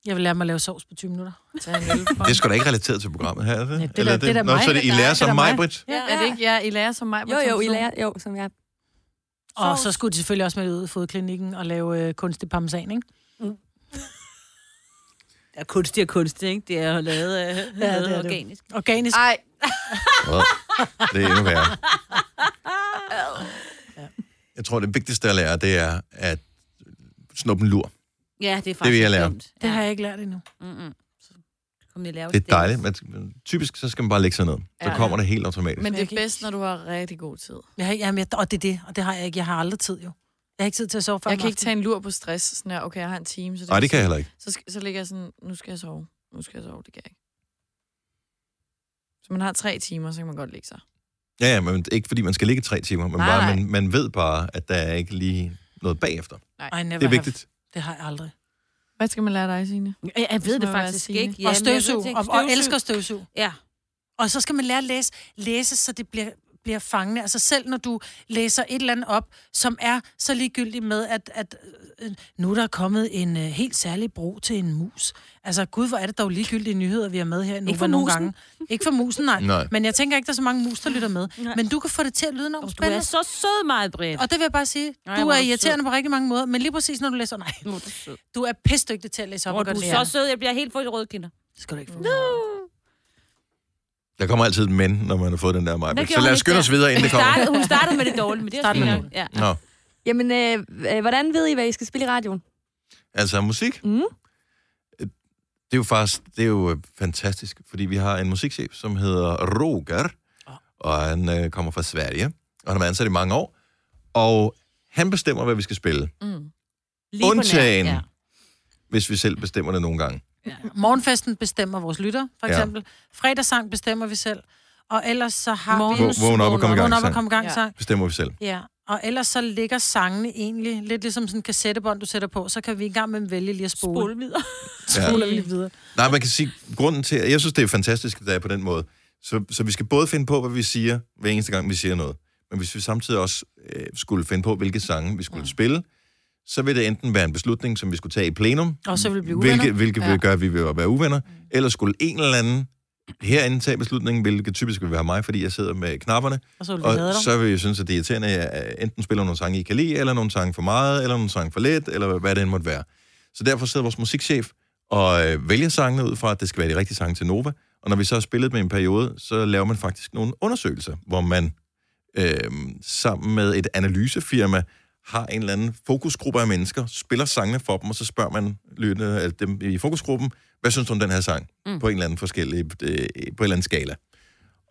[SPEAKER 3] Jeg vil lære mig at lave sovs på 20 minutter.
[SPEAKER 4] Tag en øl
[SPEAKER 1] Det er
[SPEAKER 4] fra-
[SPEAKER 1] sgu da ikke relateret til programmet her, er det?
[SPEAKER 3] Nej, det er da-
[SPEAKER 1] Eller
[SPEAKER 3] det er da
[SPEAKER 1] Nå,
[SPEAKER 3] mig,
[SPEAKER 1] så er det, I
[SPEAKER 3] der-
[SPEAKER 1] lærer
[SPEAKER 3] det er
[SPEAKER 1] som
[SPEAKER 3] da mig.
[SPEAKER 1] mig, Britt.
[SPEAKER 3] Ja.
[SPEAKER 4] Er det ikke jer, I lærer som mig?
[SPEAKER 5] Jo, jo, I lærer. Jo, som jeg.
[SPEAKER 3] Og så skulle de selvfølgelig også med ud i fodklinikken og lave øh, kunstig parmesan, ikke?
[SPEAKER 2] Ja, kunstig og kunstig, ikke? Det er jo lavet, af, ja, lavet
[SPEAKER 3] det er det.
[SPEAKER 2] organisk.
[SPEAKER 3] Organisk.
[SPEAKER 4] Ej,
[SPEAKER 1] Det er endnu værre. Jeg tror, det vigtigste at lære, det er at snuppe en lur.
[SPEAKER 2] Ja, det er faktisk
[SPEAKER 1] vil jeg lære.
[SPEAKER 2] dumt.
[SPEAKER 3] Det
[SPEAKER 2] Ja.
[SPEAKER 3] har jeg ikke lært endnu.
[SPEAKER 2] Mm-mm. Så kom lige og lave
[SPEAKER 1] Det er
[SPEAKER 2] stil.
[SPEAKER 1] dejligt. Man, typisk så skal man bare lægge sig ned. Så
[SPEAKER 4] Ja.
[SPEAKER 1] kommer det helt automatisk.
[SPEAKER 4] men det
[SPEAKER 3] Jeg kan
[SPEAKER 4] er bedst, når du har rigtig god tid.
[SPEAKER 3] Jeg har, jamen, jeg, og det er det, og det har jeg ikke. Jeg har aldrig tid, jo. Jeg har ikke tid til at sove for
[SPEAKER 4] Jeg kan ikke tage en lur på stress. Sådan her, okay, jeg har en time. Så det
[SPEAKER 1] Nej, det kan jeg heller ikke.
[SPEAKER 4] Så, sk- så ligger jeg sådan, nu skal jeg sove. Nu skal jeg sove, det kan jeg ikke. Så man har tre timer, så kan man godt ligge sig.
[SPEAKER 1] Ja, ja, men ikke fordi man skal ligge i tre timer, men
[SPEAKER 4] Nej,
[SPEAKER 1] bare,
[SPEAKER 4] nej.
[SPEAKER 1] man, man ved bare, at der er ikke lige noget bagefter.
[SPEAKER 3] I never
[SPEAKER 1] Det er vigtigt.
[SPEAKER 3] Have. Det har jeg aldrig.
[SPEAKER 4] Hvad skal man lære dig, Signe?
[SPEAKER 2] Jeg, jeg ved
[SPEAKER 4] Det
[SPEAKER 2] det
[SPEAKER 4] må være
[SPEAKER 2] faktisk
[SPEAKER 4] Signe.
[SPEAKER 2] ikke.
[SPEAKER 3] Ja, og
[SPEAKER 2] men jeg ved
[SPEAKER 3] støvsug.
[SPEAKER 2] det ikke.
[SPEAKER 3] Og, og elsker støvsug.
[SPEAKER 2] Ja.
[SPEAKER 3] Og så skal man lære at læse, læse så det bliver, bliver fangende. Altså selv når du læser et eller andet op, som er så ligegyldigt med, at, at øh, nu er der kommet en øh, helt særlig bro til en mus. Altså gud, hvor er det dog ligegyldige nyheder, vi har med her nu.
[SPEAKER 2] Ikke for
[SPEAKER 3] hvor nogle
[SPEAKER 2] musen.
[SPEAKER 3] gange. Ikke for musen, nej.
[SPEAKER 1] Nej.
[SPEAKER 3] Men jeg tænker ikke, der er så mange mus, der lytter med.
[SPEAKER 2] Nej.
[SPEAKER 3] Nej. Men du kan få det til at lyde enormt
[SPEAKER 2] Du er
[SPEAKER 3] spændende.
[SPEAKER 2] så sød, meget Britt.
[SPEAKER 3] Og det vil jeg bare sige.
[SPEAKER 2] Nej,
[SPEAKER 3] du
[SPEAKER 2] hvor
[SPEAKER 3] er
[SPEAKER 2] er du
[SPEAKER 3] irriterende på rigtig mange måder, men lige præcis når du læser, nej,
[SPEAKER 2] Nå, du er sød.
[SPEAKER 3] du er pissdygtig til at læse op
[SPEAKER 2] Nå,
[SPEAKER 3] og
[SPEAKER 2] du
[SPEAKER 3] gøre det.
[SPEAKER 2] er så sød, jeg bliver helt fuld i rødkinder.
[SPEAKER 3] Det skal du ikke få.
[SPEAKER 1] Der kommer altid et men, når man har fået den der mig.
[SPEAKER 2] Hvad
[SPEAKER 1] Så
[SPEAKER 2] gjorde
[SPEAKER 1] lad
[SPEAKER 2] hun
[SPEAKER 1] os
[SPEAKER 2] ikke
[SPEAKER 1] skynde
[SPEAKER 2] der?
[SPEAKER 1] os videre, inden
[SPEAKER 2] Hun
[SPEAKER 1] det kommer.
[SPEAKER 2] startede, hun startede med det dårlige, men det er
[SPEAKER 3] Startede
[SPEAKER 2] fint
[SPEAKER 3] med
[SPEAKER 2] nok. Ja.
[SPEAKER 1] Nå,
[SPEAKER 5] Jamen, øh, øh, hvordan ved I, hvad I skal spille i radioen?
[SPEAKER 1] altså musik.
[SPEAKER 5] Mm.
[SPEAKER 1] det er jo faktisk det er jo øh, fantastisk, fordi vi har en musikchef, som hedder Roger,
[SPEAKER 2] Ah.
[SPEAKER 1] og han øh, kommer fra Sverige, og han har været ansat i mange år, og han bestemmer, hvad vi skal spille,
[SPEAKER 4] Mm.
[SPEAKER 2] Lige på nær.
[SPEAKER 1] Undtagen.
[SPEAKER 2] Ja.
[SPEAKER 1] hvis vi selv bestemmer det nogle gange.
[SPEAKER 3] Morgenfesten bestemmer vores lytter, for
[SPEAKER 1] Ja.
[SPEAKER 3] eksempel. Fredagssang bestemmer vi selv. Og ellers så har
[SPEAKER 1] Vågn
[SPEAKER 3] vi...
[SPEAKER 2] Morgens-
[SPEAKER 1] vågn op og kom i
[SPEAKER 3] Vågn
[SPEAKER 1] gang.
[SPEAKER 3] op og
[SPEAKER 1] sang.
[SPEAKER 3] kom i gang sang.
[SPEAKER 1] Bestemmer vi selv.
[SPEAKER 3] Ja. Og ellers så ligger sangene egentlig lidt ligesom sådan en kassettebånd, du sætter på. Så kan vi i gang med at vælge lige at spole.
[SPEAKER 2] Spole videre.
[SPEAKER 1] Ja.
[SPEAKER 3] Spoler vi lige videre.
[SPEAKER 1] Nej, man kan sige, grunden til, jeg synes, det er fantastisk, at det er på den måde. Så, så vi skal både finde på, hvad vi siger, hver eneste gang, vi siger noget. Men hvis vi samtidig også øh, skulle finde på, hvilke sange vi skulle mm. spille, så vil det enten være en beslutning, som vi skulle tage i plenum,
[SPEAKER 3] Og så vil vi blive uvenner. Mm.
[SPEAKER 1] hvilke, hvilke ja.
[SPEAKER 4] Ja.
[SPEAKER 1] vil gøre, at vi vil være uvenner. Eller skulle en eller anden herinde tage beslutningen, hvilket typisk vil være mig, fordi jeg sidder med knapperne,
[SPEAKER 3] Og så vil vi
[SPEAKER 1] og
[SPEAKER 3] hade dig.
[SPEAKER 1] så vil jeg synes, at det er irriterende, at jeg øh, enten spiller nogle sange, I kan lide, eller nogle sange for meget, eller nogle sange for lidt, eller hvad det end måtte være. Så derfor sidder vores musikchef og øh, vælger sangene ud fra, at det skal være de rigtige sange til Nova. Og når vi så har spillet med en periode, så laver man faktisk nogle undersøgelser, hvor man øh, sammen med et analysefirma har en eller anden fokusgruppe af mennesker, spiller sangene for dem, og så spørger man lytterne, altså dem i fokusgruppen, hvad synes du om den her sang? Mm. På en eller anden forskellig, øh, på en eller anden skala.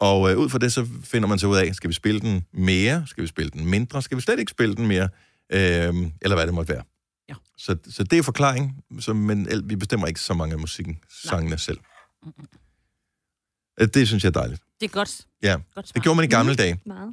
[SPEAKER 1] Og øh, ud fra det, så finder man så ud af, skal vi spille den mere? Skal vi spille den mindre? Skal vi slet ikke spille den mere? Øhm, eller hvad det måtte være.
[SPEAKER 2] Ja.
[SPEAKER 1] Så, så det er forklaring, så, men el- vi bestemmer ikke så mange af musikken, sangene selv. Øh, Det synes jeg er dejligt.
[SPEAKER 2] Det er godt.
[SPEAKER 1] Ja,
[SPEAKER 2] godt
[SPEAKER 1] det gjorde man i gamle dage.
[SPEAKER 5] Meget.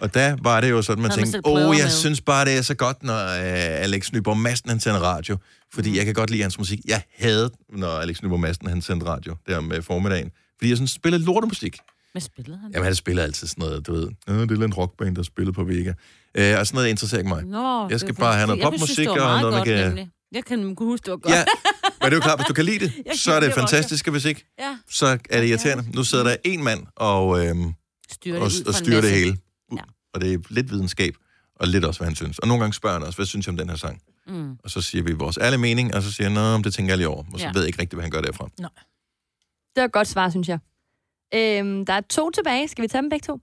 [SPEAKER 1] Og der var det jo sådan, man
[SPEAKER 2] Mm-hmm. Når man
[SPEAKER 1] tænkte,
[SPEAKER 2] selv
[SPEAKER 1] åh,
[SPEAKER 2] prøver
[SPEAKER 1] oh, jeg
[SPEAKER 2] med."
[SPEAKER 1] synes bare, det er så godt, når øh, Alex Nyborg Madsen, han sender radio. Fordi
[SPEAKER 2] Mm-hmm.
[SPEAKER 1] jeg kan godt lide hans musik. Jeg havde, når Alex Nyborg Madsen, han sendte radio der om øh, formiddagen. Fordi jeg sådan spillede lortemusik.
[SPEAKER 2] Hvad spillede han?
[SPEAKER 1] Jamen, han spiller altid sådan noget, du ved. Øh, det er en rockband, der spiller på Vega. Øh, og sådan noget interesserer ikke mig.
[SPEAKER 2] Nå,
[SPEAKER 1] Jeg skal
[SPEAKER 2] det-
[SPEAKER 1] bare have noget
[SPEAKER 2] Jeg synes,
[SPEAKER 1] popmusik
[SPEAKER 2] det var
[SPEAKER 1] og
[SPEAKER 2] meget
[SPEAKER 1] noget, man
[SPEAKER 2] godt,
[SPEAKER 1] kan-
[SPEAKER 2] nemlig. Jeg kan kunne huske, det var godt.
[SPEAKER 1] Ja, men det er jo klart, hvis du kan lide
[SPEAKER 2] Jeg
[SPEAKER 1] det, så er det
[SPEAKER 2] kan lide
[SPEAKER 1] fantastisk, og hvis ikke,
[SPEAKER 2] ja.
[SPEAKER 1] så er det irriterende. Nu sidder der en mand og, øhm,
[SPEAKER 2] Styrer
[SPEAKER 1] og,
[SPEAKER 2] det ud
[SPEAKER 1] og
[SPEAKER 2] fra en
[SPEAKER 1] styrer det
[SPEAKER 2] masse.
[SPEAKER 1] hele.
[SPEAKER 2] Ja.
[SPEAKER 1] Og det er lidt videnskab, og lidt også, hvad han synes. Og nogle gange spørger han også, hvad synes jeg om den her sang?
[SPEAKER 2] Mm.
[SPEAKER 1] Og så siger vi vores ærlige mening, og så siger han, "Nå, men det tænker jeg lige over. Og så
[SPEAKER 2] Ja.
[SPEAKER 1] ved jeg ikke rigtigt, hvad han gør derfra.
[SPEAKER 5] Det var et godt svar, synes jeg. Øhm, der er to tilbage. Skal vi tage dem begge to?